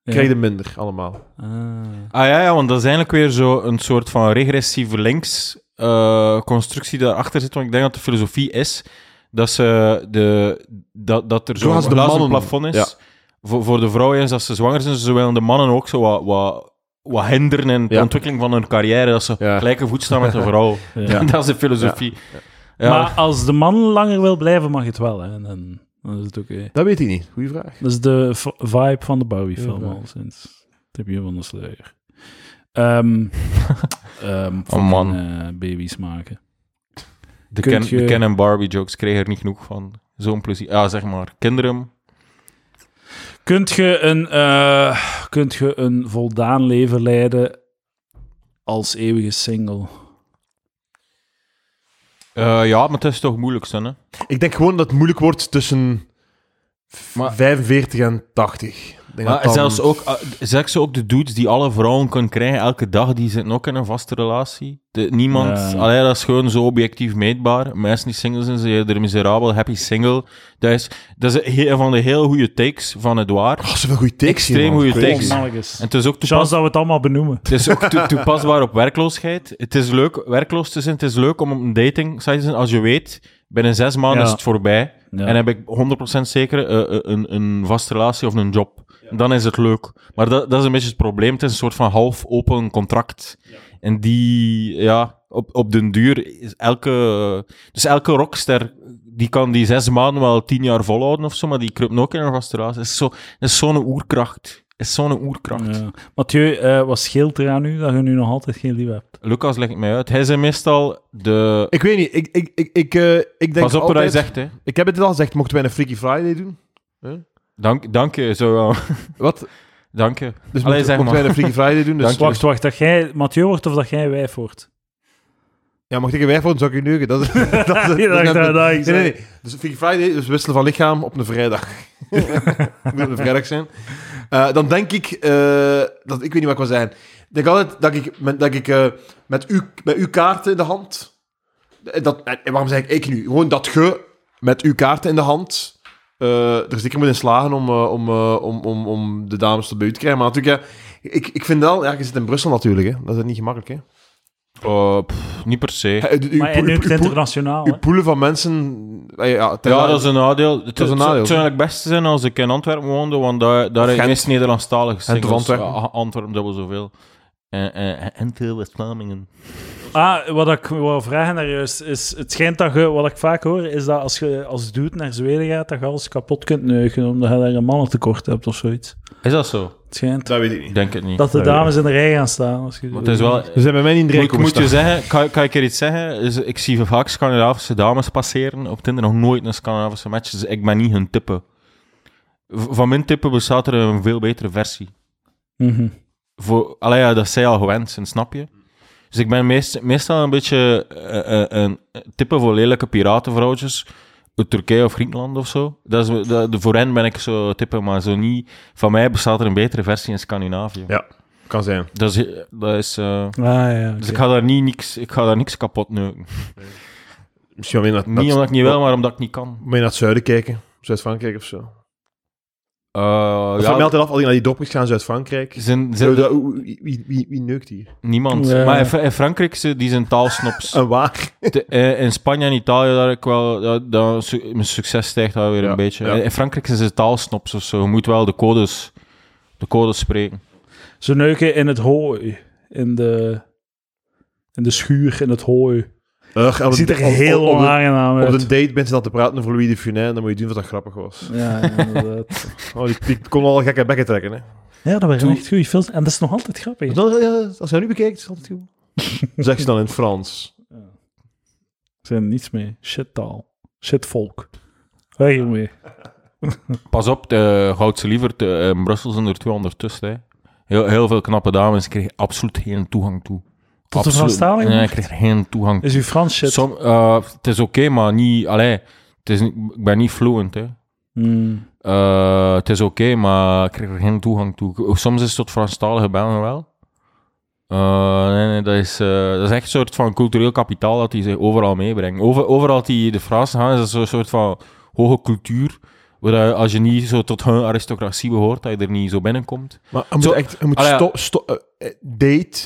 Ja. krijg je minder allemaal. Ah. Ah ja, ja, want dat is eigenlijk weer zo een soort van regressieve links eh, constructie die daarachter zit. Want ik denk dat de filosofie is dat, ze de, dat, dat er zo'n Zoals de glazen mannen. plafond is. Ja. Voor, voor de vrouwen is als ze zwanger zijn, ze willen de mannen ook zo wat, wat, wat hinderen in de Ja. ontwikkeling van hun carrière. Dat ze Ja. gelijke voet staan met een vrouw. Ja. Dat is de filosofie. Ja. Maar als de man langer wil blijven, mag het wel. Hè? Dan, dan is het oké. Dat weet ik niet. Goeie vraag. Dat is de v- vibe van de Bowie-film Ja, ja. al sinds Tribune van de Slayer. Ehm ehm, fucking, Oh, man. eh, baby's maken. de, kunt Ken, je- de Ken en Barbie jokes kregen er niet genoeg van. Zo'n plezier. Ja, zeg maar. Kinderen. Kunt je een, eh, kunt je een voldaan leven leiden als eeuwige single? Eh, ja, maar het is toch moeilijk, hè? Ik denk gewoon dat het moeilijk wordt tussen v- Maar- 45 en 80. Ik denk Maar dat dan- zelfs ook, eh, zelfs ook de dudes die alle vrouwen kunnen krijgen elke dag, die zitten ook in een vaste relatie. De- niemand, Ja. allee, dat is gewoon zo objectief meetbaar. Mensen die single zijn, zijn er miserabel, happy single. Dat is, dat is een he- van de heel goede takes van Edouard. Oh, zoveel goede takes hier, Extreem man. goede Crazy. takes. Oh, En mannetjes. het is ook Chance toepas, dat we het allemaal benoemen. het is ook toe- toepasbaar op werkloosheid. Het is leuk werkloos te zijn. Het is leuk om op een dating site te zijn. Als je weet, binnen zes maanden Ja. is het voorbij. Ja. En heb ik 100% zeker eh, eh, een, een vaste relatie of een job. Dan is het leuk. Maar dat, dat is een beetje het probleem. Het is een soort van half open contract. En die, ja, op, op den duur is elke... Dus elke rockster, die kan die zes maanden wel tien jaar volhouden of zo, maar die kruipt ook in een vaste relatie. Het is zo- het is zo'n oerkracht. Het is zo'n oerkracht. Ja. Mathieu, eh, wat scheelt er aan u dat je nu nog altijd geen lief hebt? Lucas legt het mij uit. Hij zei meestal de... Ik weet niet. Ik, ik, ik, ik, eh, ik denk Pas op wat hij altijd... zegt, hè. Ik heb het al gezegd. Mochten wij een Freaky Friday doen? Dank, dank je, zo wel. Wat? Dank je. Allee, Dus mochten, zeg mochten maar. wij een Freaky Friday doen? Dus Dank je. Wacht, wacht, dat jij Mathieu wordt of dat jij wijf wordt? Ja, mocht ik een wijf worden, zou ik u neuken. Dat is, dat is het- dacht dat- dat ik nee, zei. nee, nee. Dus Freaky Friday is wisselen van lichaam op een vrijdag. Moet een vrijdag zijn. Eh, dan denk ik... eh, dat, ik weet niet wat ik wil zijn. Ik denk altijd dat ik, met, dat ik eh, met, uw, met uw kaarten in de hand... eh, Dat, en waarom zeg ik ik nu? Gewoon dat ge met uw kaarten in de hand... eh, er zeker moet in slagen om, eh, om, eh, om, om, om de dames tot bij u te krijgen. Maar natuurlijk, ja, ik, ik vind wel... Ja, je zit in Brussel natuurlijk, hè. Dat is niet gemakkelijk, hè. Eh, pff, niet per se. Eh, uw- Maar uw- je uw- neemt het uw- internationaal. hè? uw poelen van mensen... eh, Ja, Ja, dat is een nadeel. Het, is een het zou- nadeel. het zou eigenlijk best zijn als ik in Antwerpen woonde, want daar, daar Of is Gent. meest Nederlandstalig. Gent of Antwerpen. Antwerpen dubbel zoveel. En, en, en veel West-Vlamingen. Ah, wat ik wil vragen naar juist is: het schijnt dat je, wat ik vaak hoor, is dat als je als dude naar Zweden gaat, dat je alles kapot kunt neuken omdat je daar een mannentekort hebt of zoiets. Is dat zo? Het schijnt Dat weet ik Ik niet. denk het niet. dat de dat weet dames in de rij gaan staan. Als je, Want het is wel... Ze zijn bij mij niet in de rij Ik komen moet je staan. zeggen, kan, kan ik er iets zeggen? Is, ik zie vaak Scandinavische dames passeren op Tinder, nog nooit een Scandinavische match, dus ik ben niet hun tippen. V- Van mijn tippen bestaat er een veel betere versie. Mhm. voor, allee, ja, dat zij al gewend zijn, snap je? Dus ik ben meest, meestal een beetje eh, eh, een type voor lelijke piratenvrouwtjes. Uit Turkije of Griekenland of zo. Dat is, dat, voor hen ben ik zo type, maar zo niet. Van mij bestaat er een betere versie in Scandinavië. Ja, kan zijn. Dat is, dat is, eh, Ah ja. dus oké. ik ga daar niet niks, ik ga daar niks kapot neuken. Misschien alleen naar, Niet naar, omdat ik niet wil, maar omdat ik niet kan. moet je naar het zuiden kijken. Zuid-Frankrijk of zo. Eh, Dat ja, valt mij altijd af, alleen naar die dopjes gaan ze uit Frankrijk. zijn, zijn Zo, dat- oe- oe- Wie, wie, wie neukt hier? niemand. Ja. Maar in, Fra- in Frankrijk, ze- die zijn taalsnops. En waar? Te- eh, in Spanje en Italië, daar ik wel, dat, dat su- mijn succes stijgt daar weer Ja, een beetje. ja. In- In Frankrijk zijn ze taalsnops of zo. Je moet wel de codes, de codes spreken. Ze neuken in het hooi. In de, in de schuur, in het hooi. Ugh, en op- ziet er op- op- heel op, op, onaangenaam op uit. een date bent ze dan te praten over Louis de Funès, dan moet je doen wat dat grappig was. Ja, inderdaad. Oh, die, die kon al gekke bekken trekken, hè. ja, dat waren Toen- echt goede films. En dat is nog altijd grappig. Dat- ja, als je dat nu bekijkt, is het altijd goed. Zeg ze dan in het Frans. Er zijn niets mee. Shit taal. Shit volk. Weg hiermee. Pas op, de Goudse Lievert, eh, in Brussel zijn er twee ondertussen. Hè. Heel, heel veel knappe dames kregen absoluut geen toegang toe. Tot de Absoluut. Franstalige Nee, ik markt? kreeg geen toegang. Is uw Frans shit? Som- eh, het is oké, maar niet... Allee, het is, niet- ik ben niet fluent, hè. Hmm. Eh, het is oké, maar ik kreeg er geen toegang toe. Soms is het tot Franstalige Belgen wel. Eh, nee, nee, dat is, eh, dat is echt een soort van cultureel kapitaal dat die zich overal meebrengen. Over, overal die de Fransen gaan, is dat zo'n soort van hoge cultuur. Waar je, als je niet zo tot hun aristocratie behoort, dat je er niet zo binnenkomt. Maar je moet Zo- echt... Je moet Ah, ja. sto- sto- eh, eh, date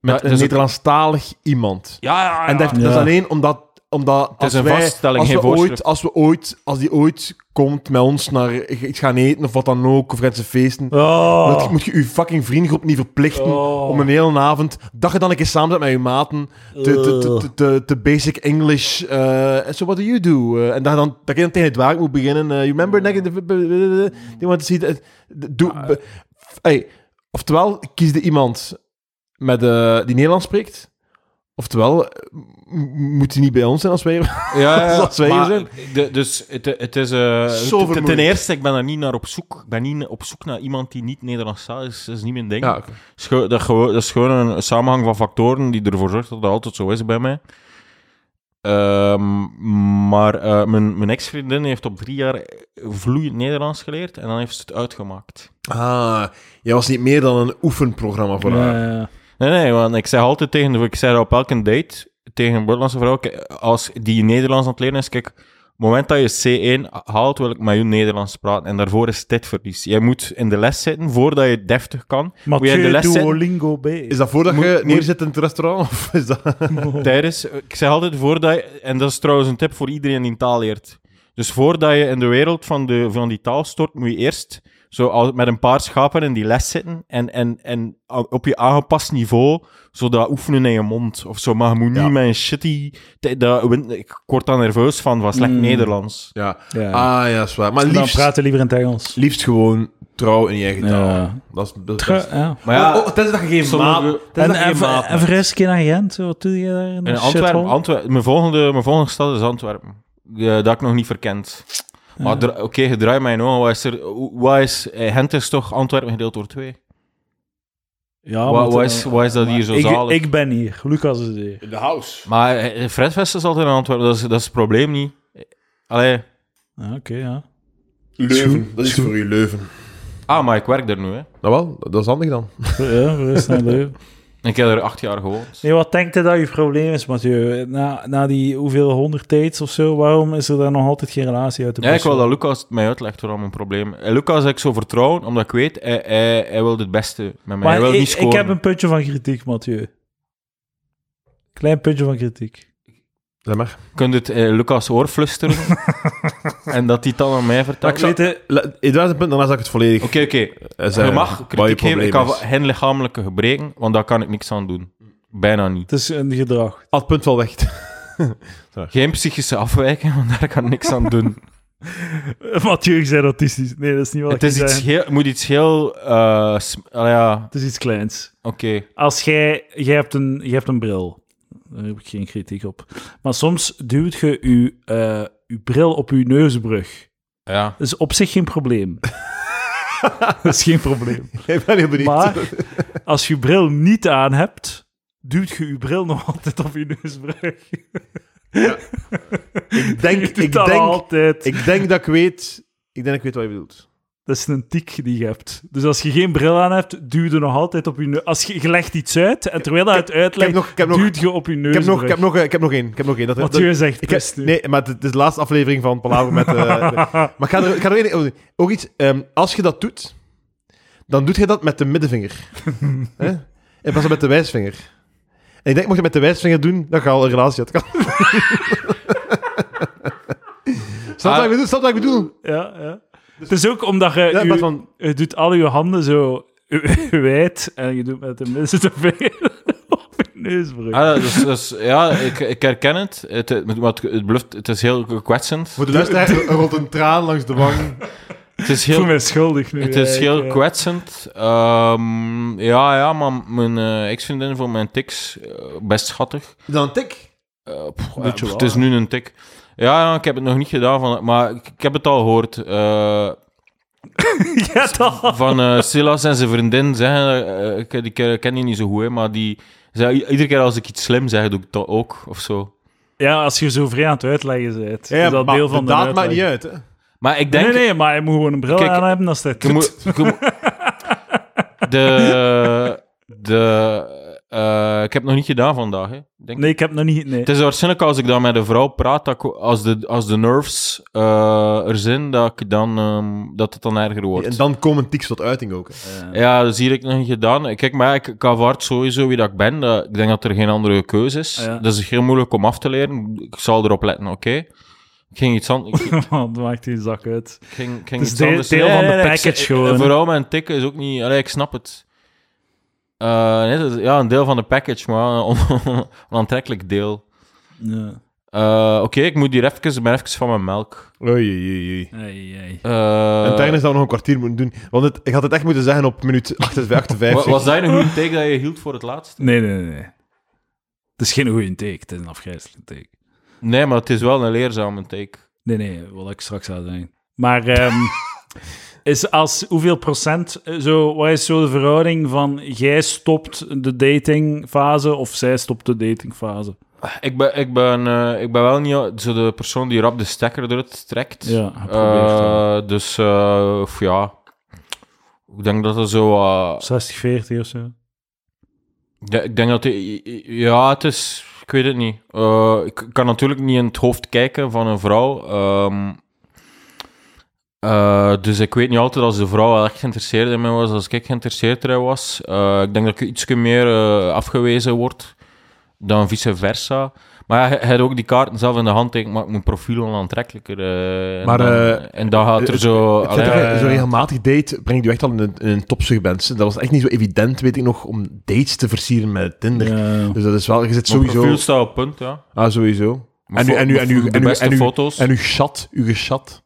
met het een is ook- Nederlandstalig iemand. Ja, ja, En dat, dat is alleen omdat... omdat is als een wij, vaststelling, als geen we ooit, voorschrift. als we ooit, als die ooit komt met ons naar iets gaan eten of wat dan ook, of Franse feesten, Oh. moet, je- moet je je fucking vriendengroep niet verplichten Oh. om een hele avond, dat je dan een keer samen bent met je maten, te, te, te, te, te- te basic English, eh, so what do you do? Eh, en dat, je dan, dat je dan tegen het werk moet beginnen, eh, you remember, negative, they want to see that, doe, be- hey, oftewel kies je iemand met, eh, die Nederlands spreekt, oftewel eh, m- moet hij niet bij ons zijn als wij... Ja, ja, Zoals wij hier maar zijn. de- dus het, het is... eh, Zo ten- ten vermoeiend. eerste, ik ben daar niet naar op zoek. Ik ben niet op zoek naar iemand die niet Nederlandstalig is. Dat is niet mijn ding. Ja, oké. is ge- dat, gewo- dat is gewoon een samenhang van factoren die ervoor zorgt dat dat altijd zo is bij mij. Ehm, maar eh, mijn, mijn ex-vriendin heeft op drie jaar vloeiend Nederlands geleerd en dan heeft ze het uitgemaakt. Ah, jij was niet meer dan een oefenprogramma voor haar. Ja, ja. Nee, nee, want ik zeg altijd tegen, de- ik zeg op elke date tegen een buitenlandse vrouw, kijk, als die Nederlands aan het leren is, kijk, op het moment dat je C1 haalt, wil ik met je Nederlands praten en daarvoor is dit verlies. Jij moet in de les zitten voordat je deftig kan. moet je in de Mathieu les zitten Duolingo B. Is dat voordat Moet- je moet- neerzit in het restaurant? Of is dat... Tijdens, ik zeg altijd voordat je, en dat is trouwens een tip voor iedereen die een taal leert. Dus voordat je in de wereld van, de, van die taal stort, moet je eerst zo al- met een paar schapen in die les zitten en, en, en a- op je aangepast niveau zodat oefenen in je mond of zo. Maar je moet Ja. niet met een shitty... te- Dat, win- ik word daar nerveus van, van slecht Mm. Nederlands. Ja. Ja. Ah, ja, dat is waar. Maar Dan liefst, praten liever in het Engels. liefst gewoon trouw in je eigen taal. Ja. Dat is, dat is Tru- ja. Maar ja, Oh, oh, tenzij dat je geen sommige- maat... tenzij En, dat je en, geen maat ver- en verhuis een keer naar Gent. Wat doe je daar in, in een Antwerpen, shithole? Antwerpen, mijn, volgende, mijn volgende stad is Antwerpen. Eh, dat ik nog niet verkend. Maar dra- oké, je draait mij nou. Wat is er... Wat is... eh, Gent is toch Antwerpen gedeeld door twee? Ja, Wa- Ah, eh, maar- wa- is- wa- is dat hier zo ik, zalig? ik ben hier. Lucas is hier. In de house. Maar eh, Fredfest is altijd een Antwerpen, dat is, dat is het probleem niet. Eh, Allee. Ja, Ah, Oké, ja. Leuven. Dat is voor u Leuven. Ah, maar ik werk daar nu, hè. Nou wel, dat is handig dan. Ja, verhuis naar Leuven. Ik heb er acht jaar gewoond. Nee, wat denkt je dat je probleem is, Mathieu? Na, na die hoeveel honderd dates of zo, waarom is er daar nog altijd geen relatie uit de Ja, ik wil persoon? dat Lucas het mij uitlegt waarom een probleem. En Lucas heb ik zo vertrouwen, omdat ik weet, hij, hij, hij wil het beste met mij. hij Maar wil ik, niet ik scoren. heb een puntje van kritiek, Mathieu. Klein puntje van kritiek. Zeg maar. Kun je het eh, Lucas oor flusteren? en dat hij het dan aan mij vertelt? Ik weet het- Le- Eduard is een punt, daarna zag ik het volledig. Oké, oké. eh, Je zeggen mag wat je kritiek geven. Ik probleem kan is. hen lichamelijke gebreken, want daar kan ik niks aan doen. Bijna niet. het is een gedrag. Al het punt wel weg. Geen psychische afwijking, want daar kan ik niks aan doen. Mathieu, je bent autistisch. Nee, dat is niet wat Het ik is zei. iets heel, moet iets heel. eh, sm- ah, ja, Het is iets kleins. oké. Als jij... Jij hebt een, jij hebt een bril. Daar heb ik geen kritiek op. Maar soms duwt je je, eh, je bril op je neusbrug. Ja. Dat is op zich geen probleem. dat is geen probleem. ik ben heel benieuwd. Maar als je bril niet aan hebt, duwt je je bril nog altijd op je neusbrug. ik denk, Je doet ik, dat denk, altijd. ik denk dat ik weet... Ik denk dat ik weet wat je bedoelt. Dat is een tik die je hebt. Dus als je geen bril aan hebt, duw je nog altijd op je neus. Als je, je legt iets uit, en terwijl dat het uitlegt, nog- ik heb nog- duwt je op je neus. Ik heb, nog, ik, heb nog, eh, ik heb nog één. Ik heb nog één. Dat, dat- Mathieu zegt, ik heb- prest nu. nee, maar het is de laatste aflevering van Palaver met... eh, de- maar ik ga er, ik ga er één- ook iets... ehm, als je dat doet, dan doet je dat met de middenvinger. Hè? In plaats van met de wijsvinger. En ik denk, mocht je met de wijsvinger doen, dan ga je al een relatie uit. elkaar. Snap je wat ik bedoel? Snap je wat ik bedoel? Ja, ja. Het is ook omdat je... Dus- Ja, in je, plaats van- je doet al je handen zo wijd, en je doet met de mensen te veel op je neusbrug. Ah, dat is- dat is- ja, ik, ik herken het. Het, het, maar het, het bluft, het is heel kwetsend. Voor de luisteraar, er rolt een traan langs de wang. Het is ik heel voel me schuldig nu. eh, Het is heel eigenlijk, ja. kwetsend. Ehm, ja, ja, maar mijn eh ex-vriendin vond mijn tics eh, best schattig. Dan een tik. Eh, pff, Doet je eh, pff, wel, het is hè? nu een tik. Ja, ja, ik heb het nog niet gedaan, van, maar ik, ik heb het al gehoord. eh, Ja, toch. van eh Silas en zijn vriendin zeggen... eh, ik, ik ken die niet zo goed, hè, maar die... zei, i- iedere keer als ik iets slim zeg, doe ik dat ook, of zo. Ja, als je zo vrij aan het uitleggen bent, Ja, is dat maar deel van de, de daad maakt niet uitleg. uit. Hè? Maar ik Nee, denk... nee, maar je moet gewoon een bril Kijk, aan hebben, dat is het. Je moet- je moet- de... de eh, ik heb het nog niet gedaan vandaag, hè. Ik denk Nee, ik heb nog niet... Nee. Het is waarschijnlijk als ik dan met een vrouw praat, dat ik- als, de, als de nerves eh, er zijn, dat, ik dan, ehm, dat het dan erger En wordt. dan komen tics tot uiting ook. hè. Ja, dat zie ik nog niet gedaan. Kijk, maar ik, ik aanvaard sowieso wie dat ik ben. Dat- ik denk dat er geen andere keuze is. Ah, Ja. Dat is heel moeilijk om af te leren. Ik zal erop letten, oké? Ik ging iets, an- ik, ik Man, dat maakt die zak uit. ging, ik Het ging is iets deel- anders deel van de ik- package ik- gewoon, hè. Vooral mijn tikken is ook niet... Allee, ik snap het. Eh, nee, dat is- ja, een deel van de package, maar een on- een aantrekkelijk deel. Ja. Eh, oké, ik moet hier even, ik ben even van mijn melk. Oei, oei, oei, oei. Ei, ei. Eh, En tijdens dat we nog een kwartier moeten doen. Want het, ik had het echt moeten zeggen op minuut 58. wa- was dat een goede take dat je hield voor het laatst? Nee, nee, nee. Het is geen goede take, het is een afgrijzelijke take. Nee, maar het is wel een leerzame take. Nee, nee, wat ik straks zou zeggen. Maar ehm, is als hoeveel procent, eh, zo, wat is zo de verhouding van jij stopt de datingfase of zij stopt de datingfase? Ik ben, ik ben, eh, ik ben wel niet zo de persoon die rap de stekker eruit trekt. Ja, geprobeerd, Eh, dus eh, of ja, ik denk dat er zo... eh, 60, 40 of zo? ja, ik denk dat... die- Ja, het is... Ik weet het niet. Eh, ik kan natuurlijk niet in het hoofd kijken van een vrouw. ehm, Eh, dus ik weet niet altijd als de vrouw wel echt geïnteresseerd in mij was, als ik geïnteresseerd erin was. Eh, ik denk dat ik iets meer eh, afgewezen word dan vice versa. Maar ja, hij had ook die kaarten zelf in de hand, denk ik, maakt mijn profiel al aantrekkelijker. eh, en Maar, dan- eh, en dan gaat er het- zo... allee, Zo'n eh, zo regelmatig date brengt u echt al in een, in een topsegment. Dat was echt niet zo evident, weet ik nog, om dates te versieren met Tinder. Ja. Dus dat is wel, je zit mijn sowieso... profiel staat op punt, ja. Ah, sowieso. Mijn En nu, fo- en nu, en nu, de en nu, beste en nu, foto's. En uw chat, uw geschat,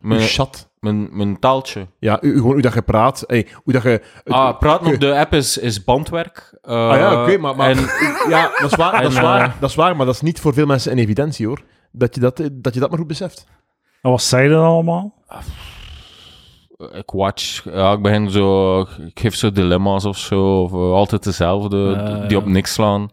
uw Mijn, chat. mijn, mijn taaltje. Ja, u, u- gewoon hoe dat je praat, hey, hoe dat je... Ah, praten op de app is, is bandwerk. Eh, Ah ja, oké, maar- maar- en- ja, dat is, waar, dat, is En, waar, eh, dat is waar, maar dat is niet voor veel mensen in evidentie, hoor. Dat je dat, eh, dat, je dat maar goed beseft. En wat zei dat allemaal? ik watch, ja, ik begin zo, ik geef zo dilemma's of zo, of eh, altijd dezelfde, Ah, die ja. op niks slaan.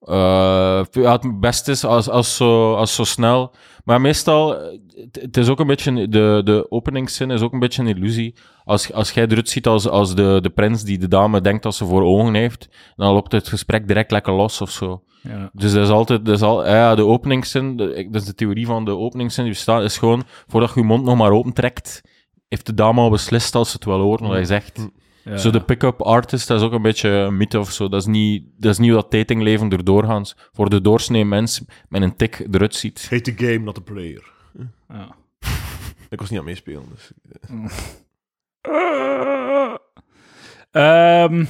Eh, ja, het beste is als, als, zo, als zo snel, maar meestal, eh, het- het is ook een beetje, de, de openingszin is ook een beetje een illusie. Als, als jij eruit ziet als, als de, de prins die de dame denkt dat ze voor ogen heeft, dan loopt het gesprek direct lekker los of zo. Ja. Dus dat is altijd, dat is al, ja, ja, de openingszin, de, ik- dat is de theorie van de openingszin die bestaat, is gewoon, voordat je je mond nog maar opentrekt, heeft de dame al beslist als ze het wel hoort, wat hij zegt. Ja. Zo de pick-up artist, dat is ook een beetje een mythe of zo. Dat is niet, dat is niet hoe dat datingleven er doorgaans voor de doorsnee mens met een tik eruit ziet. Hate the game, not the player. Ja. Ik was niet aan het meespelen, dus... Ehm,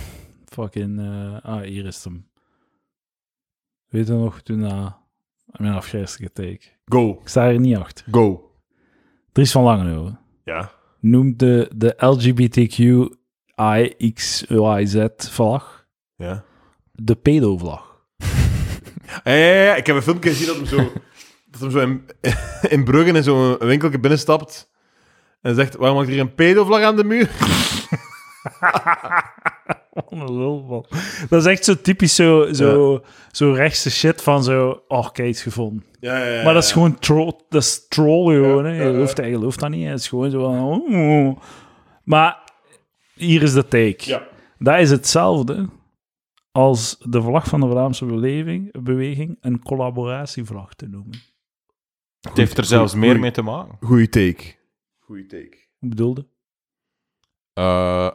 fucking. eh, ah, hier is hem. Weet je nog toen na mijn afgrijzelijke take? Go, Ik sta hier niet achter. go. Dries van Langenhoven Ja. noemt de, de LGBTQIXYZ-vlag Ja. de pedo-vlag. Ja, ja, ja, ik heb een filmpje gezien dat hem zo, dat hem zo in, in Bruggen in zo'n winkelje binnenstapt en zegt, waarom hangt hier een pedovlag aan de muur? Wat een Oh, lul, man. Dat is echt zo typisch zo, zo, zo rechtse shit van zo... Oh, kijk, iets gevonden. Ja, ja, ja, Maar dat is ja. gewoon troll, dat is troll gewoon. hè. Eh, ja, je, ja. gelooft, dat- je gelooft dat niet. Het is gewoon zo van... oh. Maar hier is de take. Ja. Dat is hetzelfde als de vlag van de Vlaamse beleving, beweging een collaboratievlag te noemen. Het heeft er goed, zelfs goed. meer mee te maken. Goeie take. Goeie take. Ik bedoelde... Eh,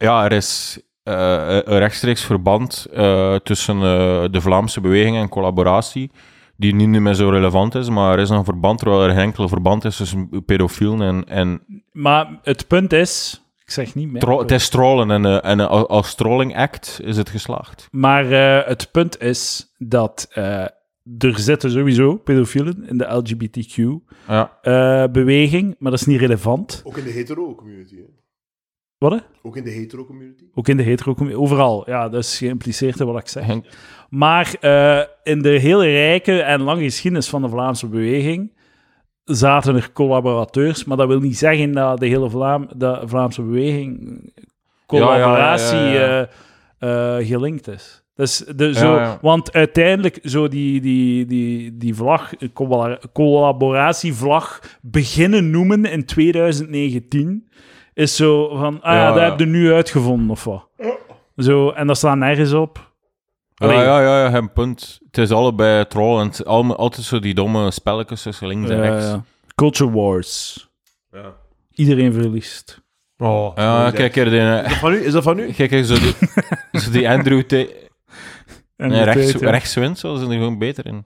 ja, er is eh, een rechtstreeks verband eh, tussen eh, de Vlaamse beweging en collaboratie, die nu niet meer zo relevant is, maar er is een verband, terwijl er geen enkel verband is tussen pedofielen en... en Maar het punt is... Ik zeg niet meer. tro- het is trollen en, eh, en eh, als- als trolling act is het geslaagd. Maar eh, het punt is dat eh, er zitten sowieso pedofielen in de Ja. LGBTQ-beweging, Eh, maar dat is niet relevant. Ook in de hetero-community. Wat? hè? Ook in de hetero-community. Ook in de hetero Overal. Ja, dat is geïmpliceerd in wat ik zeg. Henk, Maar eh, in de hele rijke en lange geschiedenis van de Vlaamse beweging zaten er collaborateurs, maar dat wil niet zeggen dat de hele Vlaam, de Vlaamse beweging collaboratie Ja, ja, ja, ja, eh, eh, gelinkt is. Dus de, zo, ja. Want uiteindelijk, zo die, die, die, die vlag, eh, colla- collaboratievlag, beginnen noemen in 2019, is zo van, ah ja, Ja, dat ja. heb je nu uitgevonden, of wat. Zo, en dat staat nergens op. Ja, Allee. ja, ja, ja, geen punt. Het is allebei trollend. Al, altijd zo die domme spelletjes tussen links en Ja, rechts. ja. eh, Culture Wars. Ja. Iedereen verliest. Oh, Ja, kijk hier, die, Van u? Is dat van u? kijk hier zo, die, zo die Andrew... T- En nee, die rechts, tijd, ja. rechts wint, zo, ze zijn er gewoon beter in.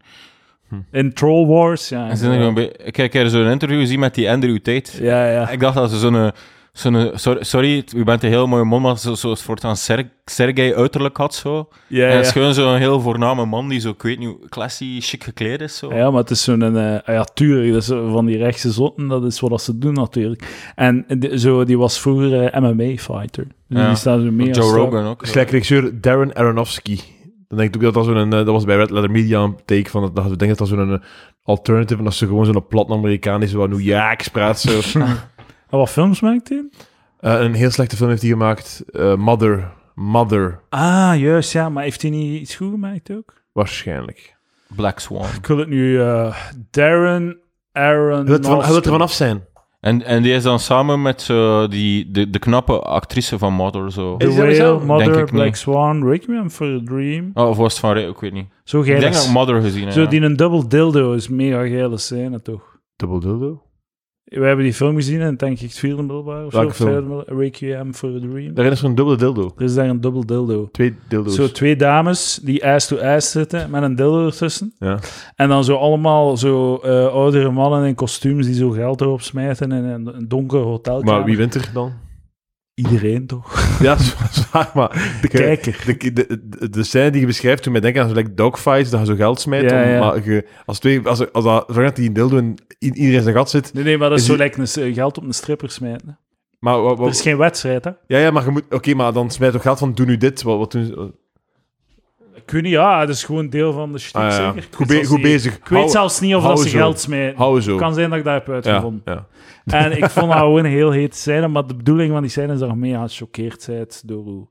In Troll Wars, ja. Ze zijn er gewoon be- Ik heb hier zo'n interview gezien met die Andrew Tate. Ja, ja. Ik dacht dat ze zo'n... eh, zo'n eh, sorry, sorry, het- u bent een heel mooie man, maar zo- zo'n soort van Ser Sergei uiterlijk had zo. Ja, En het ja. is gewoon zo'n heel voorname man die zo, ik weet niet, hoe classy, chic gekleed is. Zo. Ja, maar het is zo'n... eh ah ja, tuurlijk, dat is eh, van die rechtse zotten, dat is wat dat ze doen natuurlijk. En de- zo, die was vroeger eh, MMA-fighter. Ja. Dus Die staat er meer als Joe daar. Rogan ook. Slecht Dus regisseur Darren Aronofsky. Dan denk ik ook dat dat zo'n... eh, Dat was bij Red Letter Media een take van... Dat, dat, ik denk dat dat zo'n eh, alternative... En dat ze gewoon zo'n plat Amerikaan is... Waar nu ja, ik praat zo. En Ah, wat films maakt hij? Eh, een heel slechte film heeft hij gemaakt. eh, Mother. Mother. Ah, juist, ja. Maar heeft hij niet iets goed gemaakt ook? Waarschijnlijk. Black Swan. Ik wil het nu... eh, Darren Aaron... Hij wil er van- hij wil er vanaf zijn. En, en die is dan samen met zo die, de, de knappe actrice van Mother zo. The Is hij Whale, zelf? Mother, Denk ik Black niet. Swan, Requiem for a Dream. Oh, of was het van Ray? Ik weet niet. Zo Ik geil. denk dat is- ik Mother gezien heb. Zo ja. die een dubbel dildo is mega geile scène, toch? Double dildo? We hebben die film gezien en denk ik het vierde middelbaar of zo. Welke of film? derde middelbaar, Requiem for a Dream. Daarin is er een dubbele dildo. Er is daar een dubbel dildo. Twee dildo's. Zo twee dames die ass to ass zitten met een dildo ertussen. Ja. En dan zo allemaal zo eh, oudere mannen in kostuums die zo geld erop smijten in een, een donker hotelkamer. Maar wie wint er dan? Iedereen toch? Ja, zwaar, maar... De kijker. De, de, de, de scène die je beschrijft, toen mij denken aan zo'n like, dogfights, dat je zo geld smijt. Ja, om- ja. Maar je, als twee... Als, als, dat, zolang dat die dildo in, in iedereen zijn gat zit... Nee, nee, maar dat is, Is zo die- lekker een s- geld op een stripper smijten. hè. Maar, wat, Er is geen wedstrijd, hè? ja, ja, maar je moet... Oké, maar dan smijt toch geld van, doe nu dit. Wat, wat doen ze- Ik weet niet, ja, dat is gewoon deel van de shit, Ah, ja. zeker. Ik Goed weet be- zelfs goed niet- bezig. Ik weet Hou- zelfs niet of hou dat ze zo. geld smijten. Hou zo. Het kan zijn dat ik dat heb ja, uitgevonden. ja. En ik vond dat gewoon heel heet zijn, maar de bedoeling van die scène is dat je mee gechoqueerd bent door hoe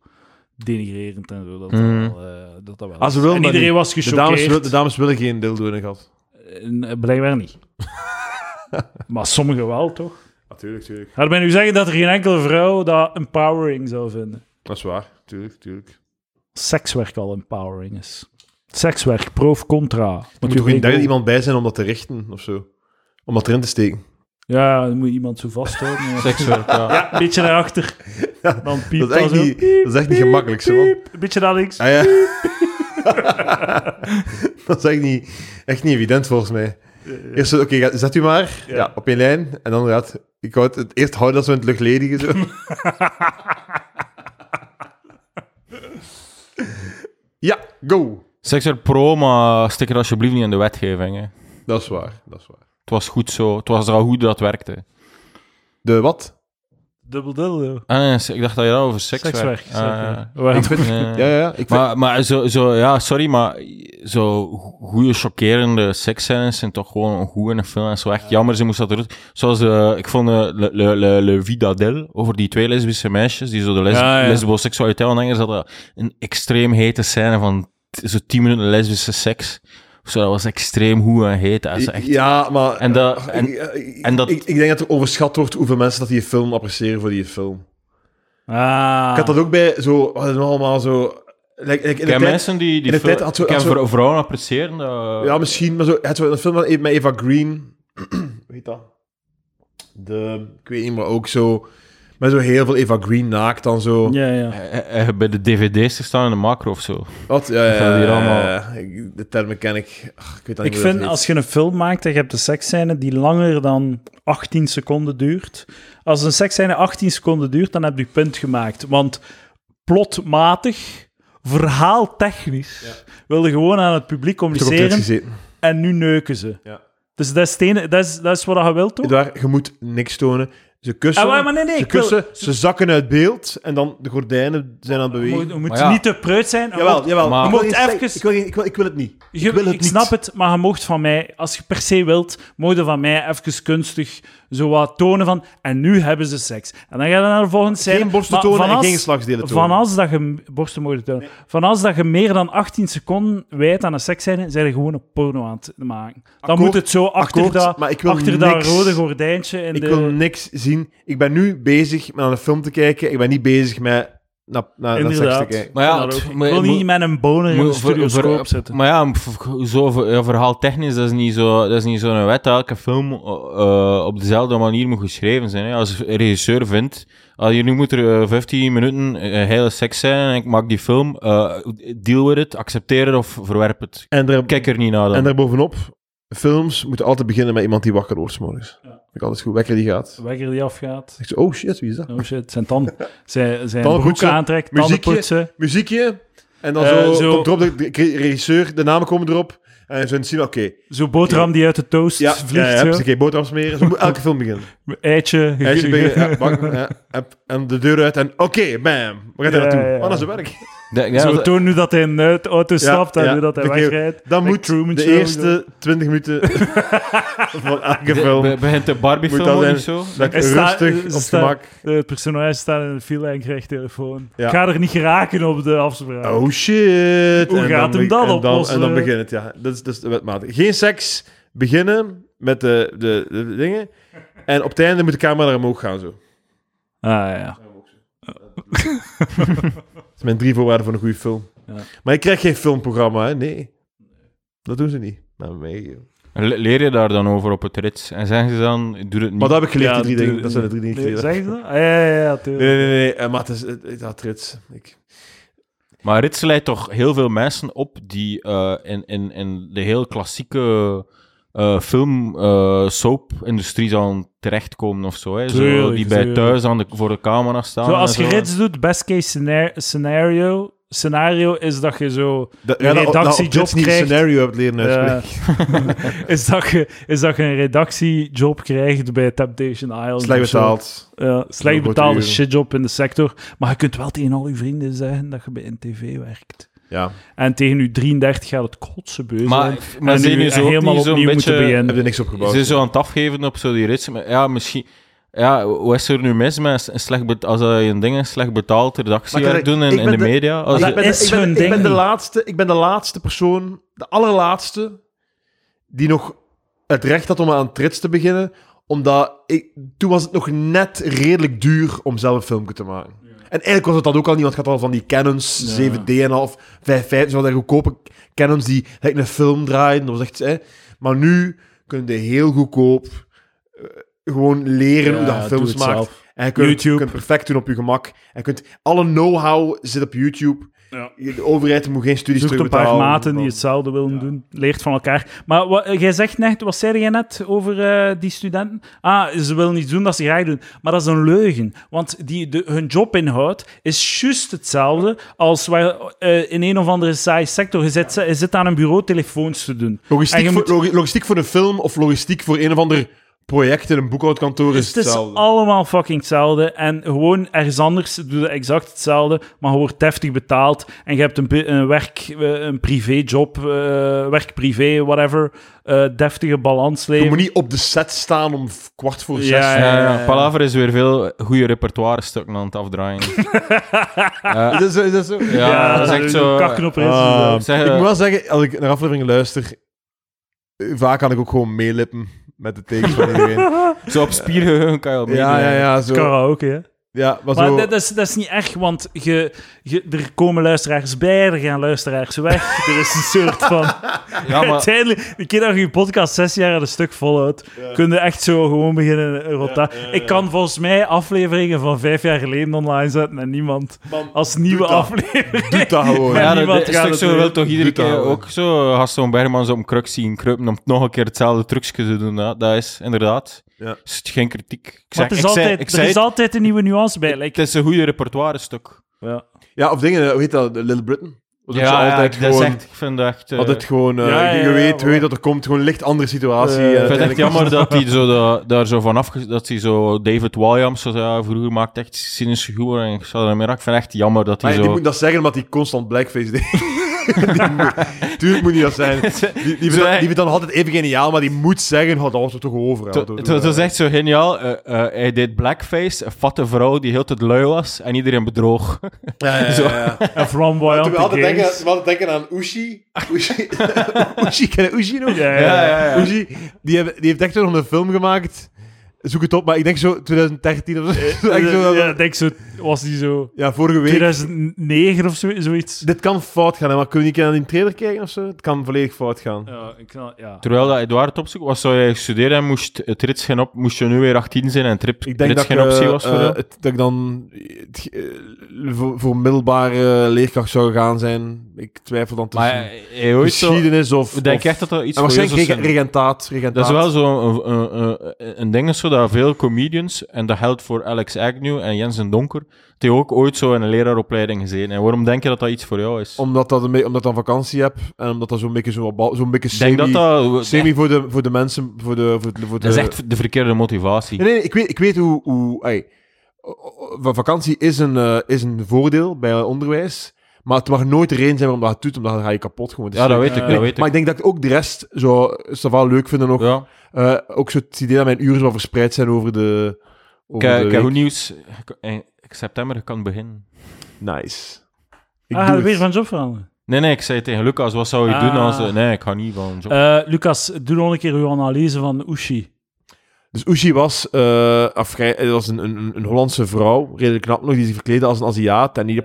denigrerend en zo. Dat Mhm. dat, wel, eh, dat, dat wel Ah, ze is. willen en dat iedereen niet. was De dames, wil- gechoqueerd. de dames willen geen dildo in een gat. Eh, Blijkbaar niet. maar sommigen wel, toch? Natuurlijk, Ah, tuurlijk. Gaat mij nu zeggen dat er geen enkele vrouw dat empowering zou vinden? Dat is waar. Tuurlijk, tuurlijk. Sekswerk al empowering is. Sekswerk, prof contra. Er Want moet toch je geen weet derde ook- iemand bij zijn om dat te richten, of zo? Om dat erin te steken. Ja, dan moet je iemand zo vasthouden. ja. Sekswerk, ja. Ja, een beetje naar achter. Dan piept Dat is echt zo. niet, dat is echt niet gemakkelijk, zo. man. Een beetje naar links. Ah, ja. dat is echt niet, echt niet evident, volgens mij. Eerst, zo, oké, ga- zet u maar ja. op je lijn. En dan gaat... Ik houd het eerst houden dat ze in het luchtledige, zo. ja, go! Sekswerk pro, maar stik er alsjeblieft niet in de wetgeving. Hè. Dat is waar, dat is waar. Het was goed zo. Het was al goed dat het werkte. De wat? Dubbel dildo. Ah, nee, ik dacht dat je daar over seks Sekswerk. werd. Ah, sekswerk. Waarom- nee. Ja, ja, ja. Ik vind- Maar, maar zo, zo, ja, sorry, maar zo goede, chockerende seksscènes zijn toch gewoon een goede film. En zo echt jammer, ze moest dat eruit. Zoals, eh, ik vond eh, Le, Le, Le, Le Vidadel, over die twee lesbische meisjes, die zo de les, Ja, ja. lesboseksualiteit ontdekken, ze hadden een extreem hete scène van t- zo 10 minuten lesbische seks. Zo, dat was extreem goed en heet. Dat is echt... Ja, maar... En dat- en- ik, ik- en dat- ik, ik denk dat er overschat wordt hoeveel mensen dat die film appreciëren voor die film. Ah. Ik had dat ook bij zo... Wat is het nou allemaal zo... Like, like, in de Ik ken tijd- mensen die, die in de veel- tijd had zo- ik ken had zo- vrou- vrouwen appreciëren. eh, Ja, misschien, maar zo... Het was een film van- E- met Eva Green. Hoe heet dat? De... Ik weet niet, maar ook zo... Met zo heel veel Eva Green naakt dan zo. Ja, ja. eh, eh, bij de dvd's te staan in de macro of zo. Wat? Ja, ja, Dat gaan we hier ja, allemaal- ja. Ik- De termen ken ik. Ach, ik weet dat Ik niet hoe dat vind heet. als je een film maakt en je hebt een seksscène die langer dan 18 seconden duurt. Als een seksscène 18 seconden duurt, dan heb je punt gemaakt. Want plotmatig, verhaaltechnisch, wilde gewoon aan het publiek Ik heb ook dit communiceren gezeten. en nu neuken ze. Ja. Dus dat is, het ene- dat, is, dat is wat je wilt, toch? Daar, je moet niks tonen. Ze kussen, Ah, maar- maar nee, nee, ze, ik wil- kussen ze zakken uit beeld en dan de gordijnen zijn aan het Je bewegen. moet, je moet Maar ja. niet te preuts zijn. oh, Jawel, jawel. Maar- Ik Je wil moet geen even- seks- Ik wil, geen- ik, wil, ik wil het niet. Je- ik wil het ik niet. snap het, maar je mocht van mij, als je per se wilt, mocht je van mij even kunstig zo wat tonen van. En nu hebben ze seks. En dan ga je naar de volgende scène. Geen borsten maar tonen van en als- geen geslachtsdelen tonen. Van als dat je borsten mogen tonen. Van als dat je meer dan 18 seconden wijdt aan een seksscène, zijn je gewoon een porno aan het maken. Dan Akkoord, moet het zo achter, akkoord, dat, maar ik wil achter dat niks. rode gordijntje in Ik de... wil niks zien. Ik ben nu bezig met aan een film te kijken. Ik ben niet bezig met naar, naar, naar seks te Inderdaad. kijken. Maar ja, Ik het- wil maar- niet moet- met een boner in de Moet- voor- voor- studioscoop zitten. Maar ja, v- zo ver- ja, verhaal technisch, dat is niet zo- dat is niet zo'n wet. dat Elke film eh, op dezelfde manier moet geschreven zijn. Hè. Als een regisseur vindt, ah, hier nu moet er eh, 15 minuten eh, hele seks zijn en ik maak die film, eh, deal with it, accepteer het of verwerp het. En, daar, Kijk er niet naar dan. en daarbovenop, films moeten altijd beginnen met iemand die wakker wordt 's morgens. Vind Ik altijd goed. Wekker die gaat. Wekker die afgaat. Ik zo, oh shit, wie is dat? Oh shit, zijn tanden. Zijn, zijn Tanden broeken poetsen, aantrekt, muziekje. tanden poetsen. Muziekje. En dan Eh, zo, zo- komt erop de, de cre- regisseur, de namen komen erop. En zo zien, we, oké. Zo boterham die uit de toast Ja, vliegt. ja, ja, zo. precies. Oké, boterham smeren. Zo moet elke film beginnen. Eitje. Hij is een beetje, ja, bang, ja, heb- en de deur uit en oké, bam. We gaan Ja, daar naartoe. ja, ja. Oh, dat is het werk. Dat- ja, Zo dat- toon nu dat hij in de auto stapt en ja, nu dat hij oké. wegrijdt. Dan Like moet Truman de Show, eerste 20 minuten van elke be- film be- begint de Barbie-film Moet dat ook zijn- niet zo? dat ik Hij staat- rustig ze op staan- gemak... zo. Het personage staat in de file en krijgt telefoon. Ja. Ga er niet geraken op de afspraak. Oh shit. Hoe gaat dan hem be- dat en dan, oplossen? en dan begint het, ja. Dat is, dat is de wetmaat. Geen seks, beginnen met de, de, de dingen. En op het einde moet de camera naar omhoog gaan, zo. Dat Ah ja. is mijn drie voorwaarden voor een goede film. Ja. Maar ik krijg geen filmprogramma, hè. Nee. Dat doen ze niet. Nou, mee. Le- Leer je daar dan over op het rits? En zeggen ze dan, doe het niet. Maar dat heb ik geleerd, Ja, die drie de- dingen. Dat zijn de drie dingen die ik Nee, geleerd heb. zeggen ze dat? Ah, ja, ja, ja, tuurlijk. Nee, nee, nee, nee. eh, maar het is... Het, het had rits. Ik, Maar Rits leidt toch heel veel mensen op die eh, in, in, in de heel klassieke eh film eh, soap-industrie dan terechtkomen of zo. Hè? zo Tuurlijk, die bij tuurlijk. thuis aan de, voor de camera staan. Zo, en als je Ah, zo. rits doet, best case scenar- scenario, scenario is dat je zo... dat, Een redactiejob dat, niet nou, krijgt. scenario hebt leren eh, Ja. uitspreken. is, dat je, is dat je een redactiejob krijgt bij Temptation Island. Slecht of zo. betaald. Ja, slecht Heel goed betaalde uren. shitjob in de sector. Maar je kunt wel tegen al je vrienden zeggen dat je bij een tv werkt. Ja. En tegen je 33 gaat het kotse beuzen. Maar, maar en zijn nu je zo ook helemaal niet zo'n opnieuw moeten beetje... Heb beginnen. je niks Ze opgebouwd? Dus- zijn zo aan het afgeven op zo die Rits. Maar Ja, misschien... Ja, wat is er nu mis met een slecht bet- als dat je een ding een slecht betaald redactiewerk kijk, doen in, ik in ben de, de- media? Als ik je- ben- is hun ik ding ben de niet. laatste, ik ben de laatste persoon, de allerlaatste, die nog het recht had om aan trits te beginnen, omdat ik, toen was het nog net redelijk duur om zelf een filmpje te maken. En eigenlijk was het dat ook al niet, want het gaat al van die Canons, Ja. 7D en half, 5, 5, zo van die goedkope Canons die gelijk een film draaien. Dat was echt, hè. Maar nu kun je heel goedkoop eh, gewoon leren Ja, hoe dat je doe films het maakt. zelf. En je kunt, YouTube. je kunt perfect doen op je gemak. En kunt, alle know-how zit op YouTube. Ja. Je- De overheid moet geen studies Zoekt een terugbetalen. paar maten die hetzelfde willen doen. Leert van elkaar. Maar wat, eh, jij zegt net, wat zei jij net over eh, die studenten? Ah, ze willen iets doen dat ze graag doen. Maar dat is een leugen. Want die, de, hun jobinhoud is juist hetzelfde als waar, eh, in een of andere saaie sector. Je zit, je zit aan een bureau telefoons te doen. En Logistiek, je voor, moet- logi- logistiek voor een film of logistiek voor een of ander project in een boekhoudkantoor is Het is hetzelfde. allemaal fucking hetzelfde. En gewoon ergens anders doe je exact hetzelfde, maar je wordt heftig betaald. En je hebt een, be- een werk, eh, een privéjob, eh, werk privé, whatever. eh deftige balans Je leven. moet niet op de set staan om v- kwart voor zes. Ja, Ja, ja, Eh. Palaver is weer veel goede repertoire stukken aan het afdraaien. ja, Is dat zo? Is dat zo? ja, dat is echt zo. Kakken op ritsen, Ah, zo. Ik zeg, ik eh, moet wel zeggen, als ik naar afleveringen luister, eh, vaak kan ik ook gewoon meelippen met de tekst van iedereen. Zo op eh, spiergeheugen kan je al ja, ja, ja. Zo, Karaoke, hè? ja maar Maar zo, dat, dat is, dat is niet echt, want je, je, er komen luisteraars bij, er gaan luisteraars weg. er is een soort van... Ja, maar Uiteindelijk, de keer dat je je podcast zes jaar aan een stuk volhoudt, kun je echt zo gewoon beginnen eh, rota. Ik kan volgens mij afleveringen van vijf jaar geleden online zetten en niemand Man, als nieuwe doe dat. aflevering. doet dat gewoon. Maar ja, niemand dat, dat gaat stuk het zo doen. wil toch iedere Brutaal, keer hè. ook zo Gaston Bergman zo om kruk zien kruipen om nog een keer hetzelfde trucje te doen. Ja, dat is inderdaad Ja. is het geen kritiek. Ik Maar zeg, het is ik zei- altijd, ik er zei is het, altijd een nieuwe nuance bij. het Like, is een goede repertoire stuk. ja. Ja, of dingen, eh, hoe heet dat? Little Britain? Dat is ja, altijd dat is gewoon... echt, ik vind dat echt... eh, Altijd gewoon, eh, Ja, ja, je ja, weet, maar- weet dat er komt, gewoon een licht andere situatie. Eh, eh, ik Ik vind het echt uiteindelijk jammer is- dat hij zo da- daar zo van afge... Dat hij zo... David Williams, zoals hij vroeger maakte, echt cynische humor en ik zou ermee raken. Ik vind het echt jammer dat hij Maar zo... die moet dat zeggen omdat hij constant blackface deed. Die moet- Tuurlijk moet niet dat zijn. Die, die, vindt Zo, dat- hij- die vindt dat nog altijd even geniaal, maar die moet zeggen, oh, dat was er toch over. hè, Het- dat- Het was- het was echt zo geniaal. Eh, eh, hij deed blackface, een fatte vrouw die heel te lui was en iedereen bedroog. Ja, ja, ja, Zo. ja. En flamboyant Toen we altijd gays. denken, we altijd denken aan Ushi. Ushi, Ushi ken je Ushi nog? Ja, ja, ja. Ushi, die, hebben- die heeft echt nog een film gemaakt. Zoek het op, maar ik denk zo 2013 of zo. Echt zo dat- Ja, ik denk zo, was die zo... ja, vorige week. 2009 of zo, zoiets. Dit kan fout gaan, hè, maar kunnen we niet naar die trailer kijken of zo? Het kan volledig fout gaan. Ja, ik, kan- ja. Terwijl dat Edouard het opzoek was, zou jij studeren en moest het ritsgen op, moest je nu weer 18 zijn en het rit- Ik denk dat, ritsgen ik, optie eh, was voor eh, jou? het- dat ik dan het- eh, voor, voor middelbare leerkracht zou gaan zijn. Ik twijfel dan Maar tussen hij- hij ooit zo... geschiedenis of... Ik denk of- echt dat dat iets en voor jou zou waarschijnlijk reg- zijn. regentaat, regentaat. Dat is wel zo'n een, een, een, een ding zo dat veel comedians, en dat geldt voor Alex Agnew en Jens en Donker, die ook ooit zo in een leraaropleiding gezeten. En waarom denk je dat dat iets voor jou is? Omdat, dat een beetje- omdat ik dan vakantie heb en omdat dat zo'n beetje, zo wat- zo'n beetje Ik semi, denk dat dat... semi voor, de, voor de mensen... Voor de, voor de, voor de, Dat is echt de verkeerde motivatie. Nee, nee, ik weet, ik weet hoe... hoe ey, o- o- o- vakantie is een, eh, is een voordeel bij onderwijs, maar het mag nooit de reden zijn waarom dat het doet, omdat dan ga je kapot gewoon. Het is Ja, dat zo- weet ik, Nee, dat weet Maar ik. ik denk dat ik ook de rest zo, zo wel leuk vind en ook, Ja. eh, ook zo het idee dat mijn uren zo wel verspreid zijn over de... Over de Kijk, kijk, week. goed nieuws. In september kan beginnen. Nice. Ik Ah, doe ga je het. weer van job veranderen? Nee, nee, ik zei tegen Lucas, wat zou je Ah. doen als... eh, Nee, ik ga niet van job. Eh, Lucas, doe nog een keer uw analyse van Ushi. Dus Ushi was, eh, afgrij- eh, was een, een, een Hollandse vrouw, redelijk knap nog, die zich verkleedde als een Aziat. En die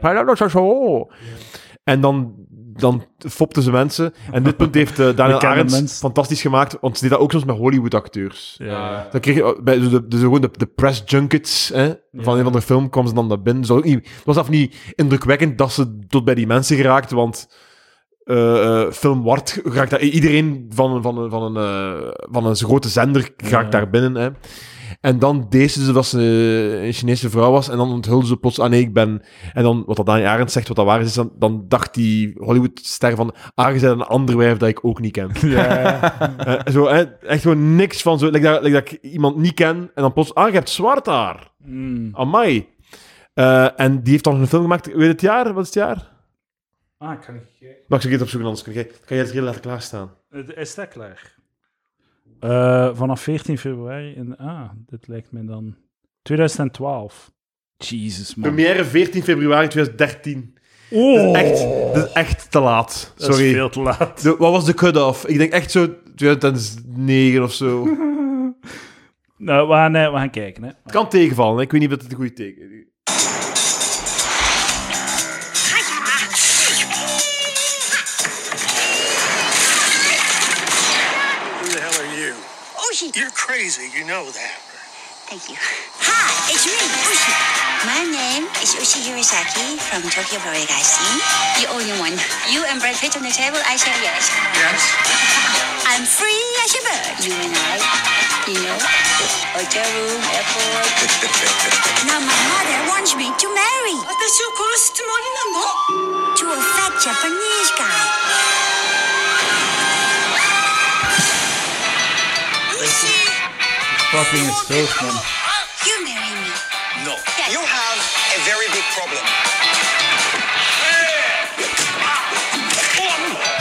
En dan, dan fopten ze mensen. En dit punt heeft eh, Daniel Bekende Arends mens. fantastisch gemaakt, want ze deed dat ook soms met Hollywood-acteurs. Ja. Dan kreeg je bij zo de, dus gewoon de, de press junkets hè, van een van de film kwam ze dan naar binnen. Dus dat was ook niet, het was af niet indrukwekkend dat ze tot bij die mensen geraakt, want eh, eh, film wordt geraakt daar, iedereen van, een- van, een- van, een, eh, van een grote zender raakt Ja. daar binnen. Hè. En dan deze ze dat ze een Chinese vrouw was en dan onthulde ze plots, ah nee, ik ben... En dan, wat dat Daniel Arendt zegt, wat dat waar is, is dan, dan dacht die Hollywood-ster van, aangezet een ander wijf dat ik ook niet ken. Eh, zo, hè, echt gewoon niks van zo. Like dat, like dat ik iemand niet ken en dan plots, ah, je hebt zwart haar. Mm. Amai. Eh, en die heeft dan een film gemaakt, weet je het jaar? Wat is het jaar? Ah, ik kan niet kijken. Mag ik het opzoeken, anders kan jij, kan jij het heel laten klaarstaan. Het Is dat klaar? Eh, vanaf 14 februari. In, ah, dit lijkt me dan... 2012. Jesus, man. Première 14 februari 2013. Oh, Dat, is echt, dat is echt te laat. dat is Sorry. veel te laat. De- wat was de cut-off? Ik denk echt zo 2009 of zo. Het Nou, we gaan, eh, we gaan kijken, hè. kan tegenvallen, hè. ik weet niet of het een goede teken is. Who the hell are you? Oshi. You're crazy. You know that. Thank you. Hi, it's me, Oshi. My name is Oshi Yurisaki from Tokyo Variety Scene. The only one. You and Brad Pitt on the table, I shall yes. Yes. I'm free as a bird. You and I, you know, hotel room, airport. now my mother wants me to marry to a fat Japanese guy. Lucy. fucking stoofd, man. You marry me. No. Yes. You have a very big problem.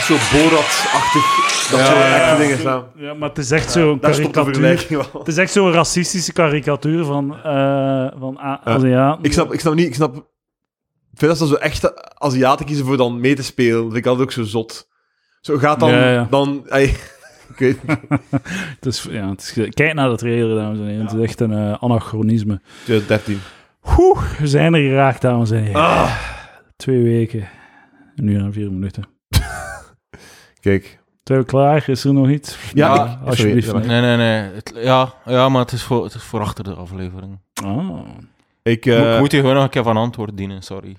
Zo Borat-achtig. Dat soort echte dingen staan. Ja, maar het is echt zo'n daar stopt de karikatuur. vergelijking wel. Het is echt zo'n racistische karikatuur van, eh van A- Aziaten. Ik snap, ik snap niet, ik snap... Ik vind dat ze zo echte Aziaten kiezen voor dan mee te spelen. Dat vind ik altijd ook zo zot. Zo gaat dan... Ja, ja. dan ey, ik weet niet. Het is, ja, het is- kijk naar dat trailer, dames en heren. Het is echt een eh, anachronisme. 13. Oeh, we zijn er geraakt, dames en heren. Ah. Twee weken. Een uur en vier minuten. Kijk. Zijn we klaar? Is er nog iets? Nou, Ja, Ja, ik- alsjeblieft. sorry, Nee, nee, nee. Het- ja, ja, maar het is, voor, het is voor achter de aflevering. Oh. Ik, Mo- eh, moet je gewoon nog een keer van antwoord dienen, sorry.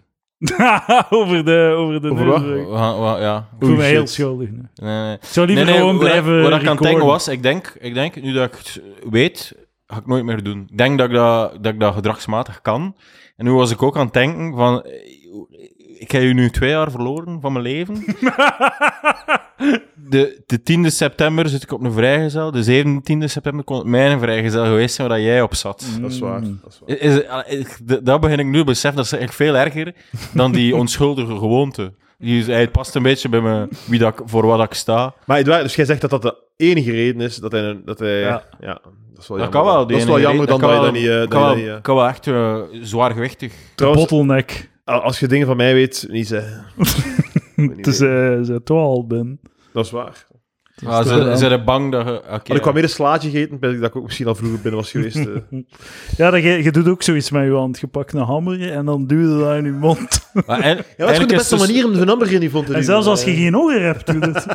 over de... Over de Over wat? neus. We gaan- we- ja. Ik voel me Oeh, heel shit. schuldig nu. Nee, nee. Ik zou liever nee, nee, gewoon wat ik- blijven Wat ik aan het denken recorden. was, ik denk, ik denk, nu dat ik het weet, ga ik nooit meer doen. Ik denk dat ik dat, dat, ik dat gedragsmatig kan. En nu was ik ook aan het denken van, eh, ik heb je nu twee jaar verloren van mijn leven. De, de 10e september zit ik op een vrijgezel. De 17e september kon het mijn vrijgezel geweest zijn waar jij op zat. Mm. dat is waar. Dat is waar. Is, is- ah, ik- d- dat begin ik nu te beseffen, dat is echt veel erger dan die onschuldige gewoonte. Die, is- hij past een beetje bij me, wie dat, ik- voor wat ik sta. Maar Edouard, dus jij zegt dat dat de enige reden is dat hij... een- Dat hij ja. Ja. dat is wel Dat jammer. kan wel. Dat is wel jammer dan dat je dat niet... eh, dat kan, je dat wel, niet, eh, kan wel echt eh, zwaargewichtig. Trouwens, Bottleneck. a- als je dingen van mij weet, niet zeggen. Het is eh, ze toch al ben. Dat is waar. Ah, toch ze gedaan. zijn bang dat je... Had oké. ik wat meer een slaatje gegeten, ben ik dat ik ook misschien al vroeger binnen was geweest. eh. Ja, dat, je, je doet ook zoiets met je hand. Je pakt een hammer en dan duw je dat in je mond. Maar en- Ja, dat is gewoon eigenlijk de is beste dus- manier om de nummer in die vond te En duwen. zelfs als je Eh, geen oren hebt, doe dat.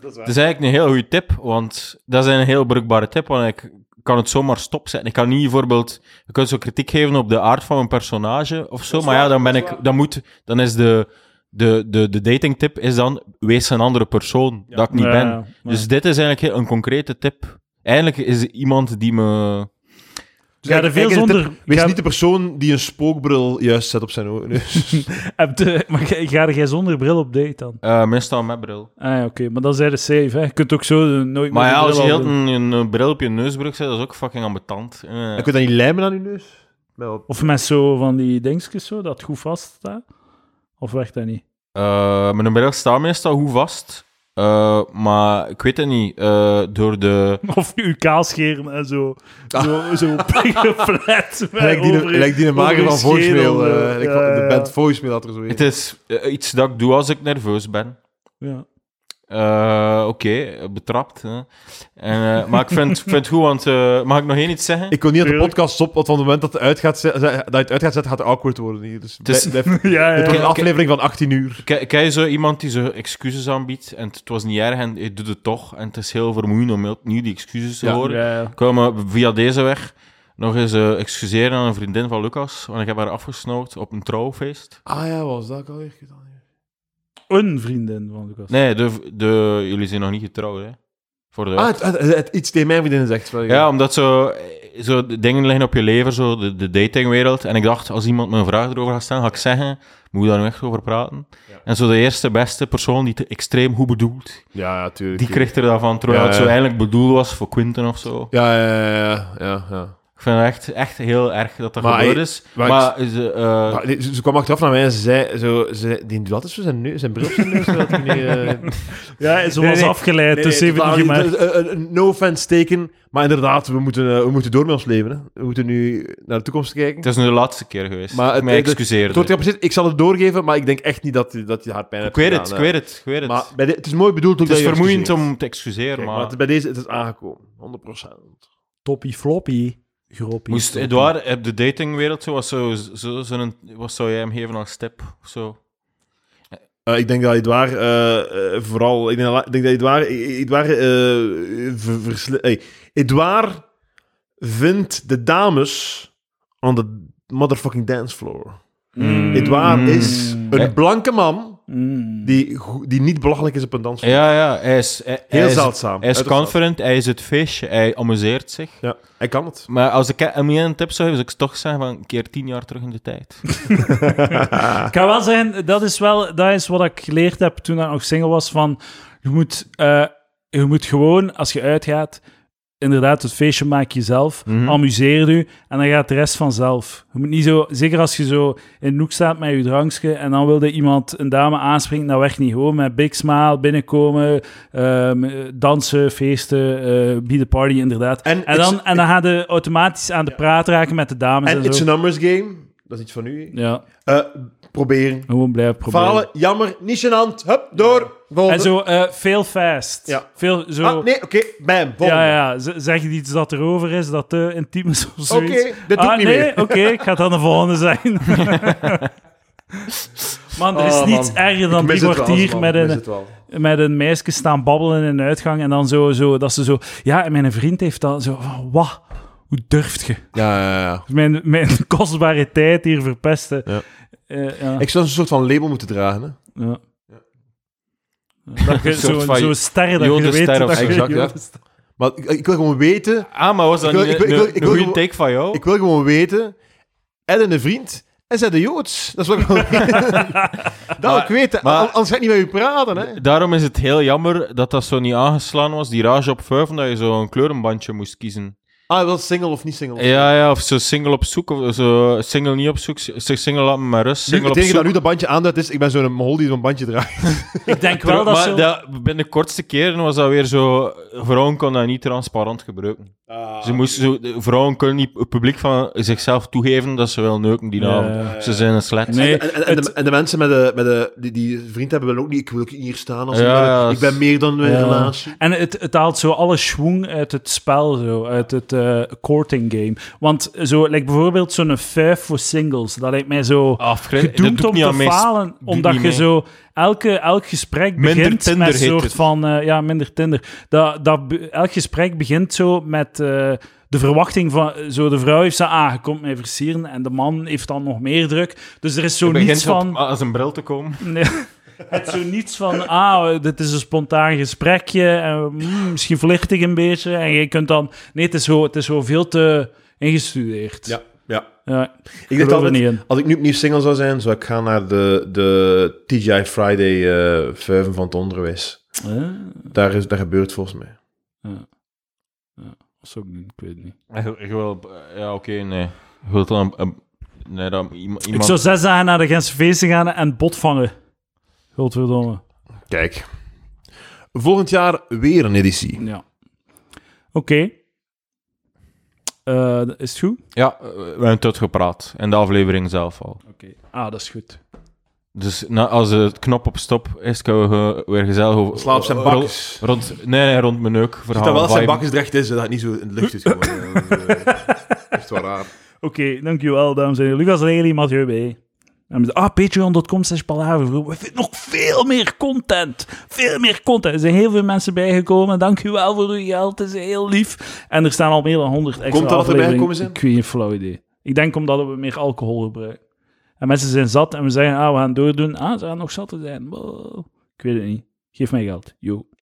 Dat is eigenlijk een heel goede tip, want dat is een heel bruikbare tip, want ik kan het zomaar stopzetten. Ik kan niet bijvoorbeeld, je kunt zo kritiek geven op de aard van mijn personage of zo, maar ja, dan ben ik, dan moet, dan is de, de, de, de datingtip is dan, wees een andere persoon, dat ik niet Ja, ben. ja, ja. Dus dit is eigenlijk heel- een concrete tip. Eigenlijk is iemand die me... Dus eigenlijk- Ja, de veel eigenlijk is de zonder- tip, Wees ja. niet de persoon die een spookbril juist zet op zijn ogen. Dus- Heb de- maar ga, ga jij zonder bril op date dan? eh meestal met bril. Ah, ja, oké. Maar dan zijn de safe, hè. Je kunt ook zo eh, nooit Maar meer ja, de als je bril heel afdoen. een, een, eh, bril op je neusbrug zet, dat is ook fucking ambetant. Eh, Ik wil dan niet lijmen aan je neus. Met wat- Of met zo van die dingetjes zo, dat het goed vaststaat. Of werkt dat niet? Eh, mijn bril staat meestal goed vast. Eh, maar ik weet het niet. Eh, door de... Of je kaas scheren en zo. Zo, zo geplet. Gelijk Ah. die, gelijk die de maker van voicemail. eh, gelijk van de band voicemail had er zo Het in. is eh, iets dat ik doe als ik nerveus ben. Ja. Eh, Oké, betrapt. Hè. En, eh, maar ik vind, ik vind het goed, want... eh, mag ik nog één iets zeggen? Ik wil niet dat de Tuurlijk. podcast stopt, want van het moment dat het uit gaat, ze- ze- dat je het uit gaat zetten, gaat het awkward worden hier. Dus Het is- blijf- blijf- Ja, ja, het wordt ja. een aflevering van 18 uur. Ken ken je zo iemand die zo excuses aanbiedt en het was niet erg en je doet het toch en het is heel vermoeiend om opnieuw die excuses te Ja, horen? Ja, ja. Ik wil me via deze weg nog eens eh, excuseren aan een vriendin van Lucas, want ik heb haar afgesnauwd op een trouwfeest. Ah ja, was dat ik alweer gedaan? Een vriendin van Lucas. Nee, de, de, jullie zijn nog niet getrouwd, hè? Voor de... Ah, het, het- het- iets tegen mijn vriendin zegt. sorry. ja, omdat zo, eh, zo de dingen liggen op je lever, zo de, de datingwereld. En ik dacht, als iemand me een vraag erover gaat stellen, ga ik zeggen, moet ik daar nu echt over praten? En zo de eerste beste persoon die het extreem goed bedoelt, ja, ja, tuurlijk. die kreeg er daarvan, terwijl Ja, het zo ja. eigenlijk bedoeld was voor Quinten of zo. Ja, ja, ja, ja, ja, ja. Ik vind het echt, echt heel erg dat dat Maar gebeurd hij- is. maar Maar, ik- ze, eh, Ah, nee, ze, ze kwam achteraf naar mij en ze zei... Zo, ze, die doet altijd zo zijn, neus, zijn bril op zijn neus. zodat hij niet, eh, Ja, ze was Nee, nee. afgeleid, nee, dus nee, even totaal niet niet. gemaakt. Eh, eh, eh, No offense taken. Maar inderdaad, we moeten, eh, we moeten door met ons leven. Hè. We moeten nu naar de toekomst kijken. het is nu de laatste keer geweest. Maar Maar het- ik mij het- excuseerde. Het wordt heel precies, ik zal het doorgeven, maar ik denk echt niet dat, dat je haar pijn ik hebt weet gedaan, het, hè. ik weet het, ik weet het. Maar bij de- het is mooi bedoeld. het ook is dat je vermoeiend excuseert. om te excuseren, Kijk, maar, maar... het- bij deze het is aangekomen. 100%. Toppie floppy. Groppie. Moest floppy. Edouard op de datingwereld zo, wat zou, zo, zo'n- wat zou jij hem geven als tip? Of zo? Eh, ik denk dat Edouard eh, eh, vooral... Ik denk dat, ik denk dat Edouard... Edouard, eh, ver- versli- hey, Edouard vindt de dames aan de motherfucking dancefloor. Mm. Edouard is Eh. een blanke man Mm. die, go- die niet belachelijk is op een dansvloer. Ja, ja, hij is... Hij, hij Heel is- zeldzaam. Hij is Uiterst confident, hij is het feestje, hij amuseert zich. zeldzaam. Ja, hij kan het. Maar als ik hem een tip zou geven, zou ik toch zeggen van een keer tien jaar terug in de tijd. Ik kan wel zeggen, dat is wel dat is wat ik geleerd heb toen ik nog single was. Van, je, moet, eh, je moet gewoon, als je uitgaat, inderdaad het feestje maak je zelf. Amuseer je en dan gaat de rest vanzelf. Je moet niet zo, zeker als je zo in de hoek staat met je drankje en dan wilde iemand een dame aanspringen, dat werkt niet. Gewoon met big smile binnenkomen, ehm, dansen, feesten, eh be the party inderdaad. En En, dan, it's- en dan ga je automatisch aan de praat raken met de dames en, En it's zo. a numbers game. Dat is iets van u. Ja, Eh, proberen. gewoon blijven proberen. Falen, jammer, niet gênant. Hup, door. Volgende. En zo eh veel fast. Ja. Veel zo... Ah, nee, oké, bam, volgende. Ja, ja, z- zeg je iets dat erover is, dat te intiem is of zoiets. Oké, dat doe ik ah, niet nee? meer. Oké, ik ga dan de volgende zijn. man, er is Oh, man. niets erger dan Ik drie mis het wel, kwartier man, met ik mis een, het wel. met een meisje staan babbelen in de uitgang en dan zo, zo dat ze zo... Ja, en mijn vriend heeft dan zo... van, Wat? Hoe durft je? Ja, ja, ja. Mijn, mijn kostbare tijd hier verpesten. Ja. Eh, ja, Ik zou een soort van label moeten dragen. Hè? ja. Dat je Een soort zo'n van zo'n ster dat je Jodenster weet of dat zo. je... Exact, ja. Jodenster. Maar ik, ik wil gewoon weten. Ah, maar was dat Ik wil- niet ik wil- ik wil- een- ik een wil goede gewoon- take van jou? Ik wil gewoon weten. Ed een vriend. En zij de Joods. Dat is wat ik wil weten. Dat wil ik weten. maar- An- Anders ga ik niet met u praten. Hè? Daarom is het heel jammer dat dat zo niet aangeslaan was, die Rage op 5, omdat je zo'n kleurenbandje moest kiezen. Ah, wel single of niet single. Ja, ja, of zo single op zoek, of zo single niet op zoek, zeg single laat me maar rust, Nu, single het op enige zoek. dat nu dat bandje aanduidt is, ik ben zo'n mol die zo'n bandje draait. Ik denk wel dat maar ze... dat- binnen de kortste keren was dat weer zo, vrouwen kon dat niet transparant gebruiken. Ah, ze moesten zo, de vrouwen kunnen niet het publiek van zichzelf toegeven dat ze wel neuken die Ja, avond. ja, ja. Ze zijn een slet. Nee, En, en, en, de, en de mensen met de, met de, die, die vriend hebben willen ook niet, ik wil hier staan. Als Ja, ik, ben- ja, ik ben meer dan mijn Ja. relatie. En het, het haalt zo alle schwung uit het spel, zo, uit het eh, courting game. Want zo, like bijvoorbeeld zo'n vijf voor singles, dat lijkt mij zo Afgrijp- dat gedoemd doet om niet te aan mij. falen. Doet Omdat je niet mee. zo elke, elk gesprek Minder begint Tinder met een heet soort het. van... eh, ja, minder Tinder. Dat, dat, be- elk gesprek begint zo met... eh, de verwachting van zo de vrouw heeft zo, ah, je komt mij versieren. En de man heeft dan nog meer druk. Dus er is zo niets Begint op- van. als een bril te komen. Nee. Het zo niets van, ah, dit is een spontaan gesprekje, en, mm, misschien verlicht ik een beetje. En je kunt dan... Nee, het is zo, het is zo veel te ingestudeerd. ja. Ja. Ik dacht Geloof er altijd, niet in. als ik nu opnieuw single zou zijn, zou ik gaan naar de, de TGI Friday eh vuiven van het onderwijs. Eh, Daar, is, daar gebeurt volgens mij. dat is ook niet, ik weet het niet. Je- je wil- ja, oké, nee. Je wilt dan... een- een- nee, dan iemand... Ik zou zes dagen naar de Gentse feesten gaan en bot vangen. Godverdomme. Kijk. Volgend jaar weer een editie. Ja. Oké. Eh, is het goed? Ja, eh, we hebben tot gepraat. En de aflevering zelf al. Oké. Ah, dat is goed. Dus na, als de knop op stop is, kunnen we ge- weer gezellig... over- Slaap zijn rond- bakjes. Rond, nee, nee, rond mijn neuk. Ziet verhaal dat wel als zijn viben. bakjes recht is, dat het niet zo in de lucht is. Gewoon. Echt wel raar. Oké, dankjewel, dames en heren. Lucas Lely, Mathieu B. En met- Ah, patreon.com slash palaver. We vinden nog veel meer content. Veel meer content. Er zijn heel veel mensen bijgekomen. Dankjewel voor uw geld. Het is heel lief. En er staan al meer dan 100 extra Komt dat er afleveringen. bijgekomen zijn? Ik weet geen flauw idee. Ik denk omdat we meer alcohol gebruiken. En mensen zijn zat en we zeggen, ah, we gaan doordoen. Ah, ze gaan nog zat te zijn. Wow. Ik weet het niet. Geef mij geld. Yo.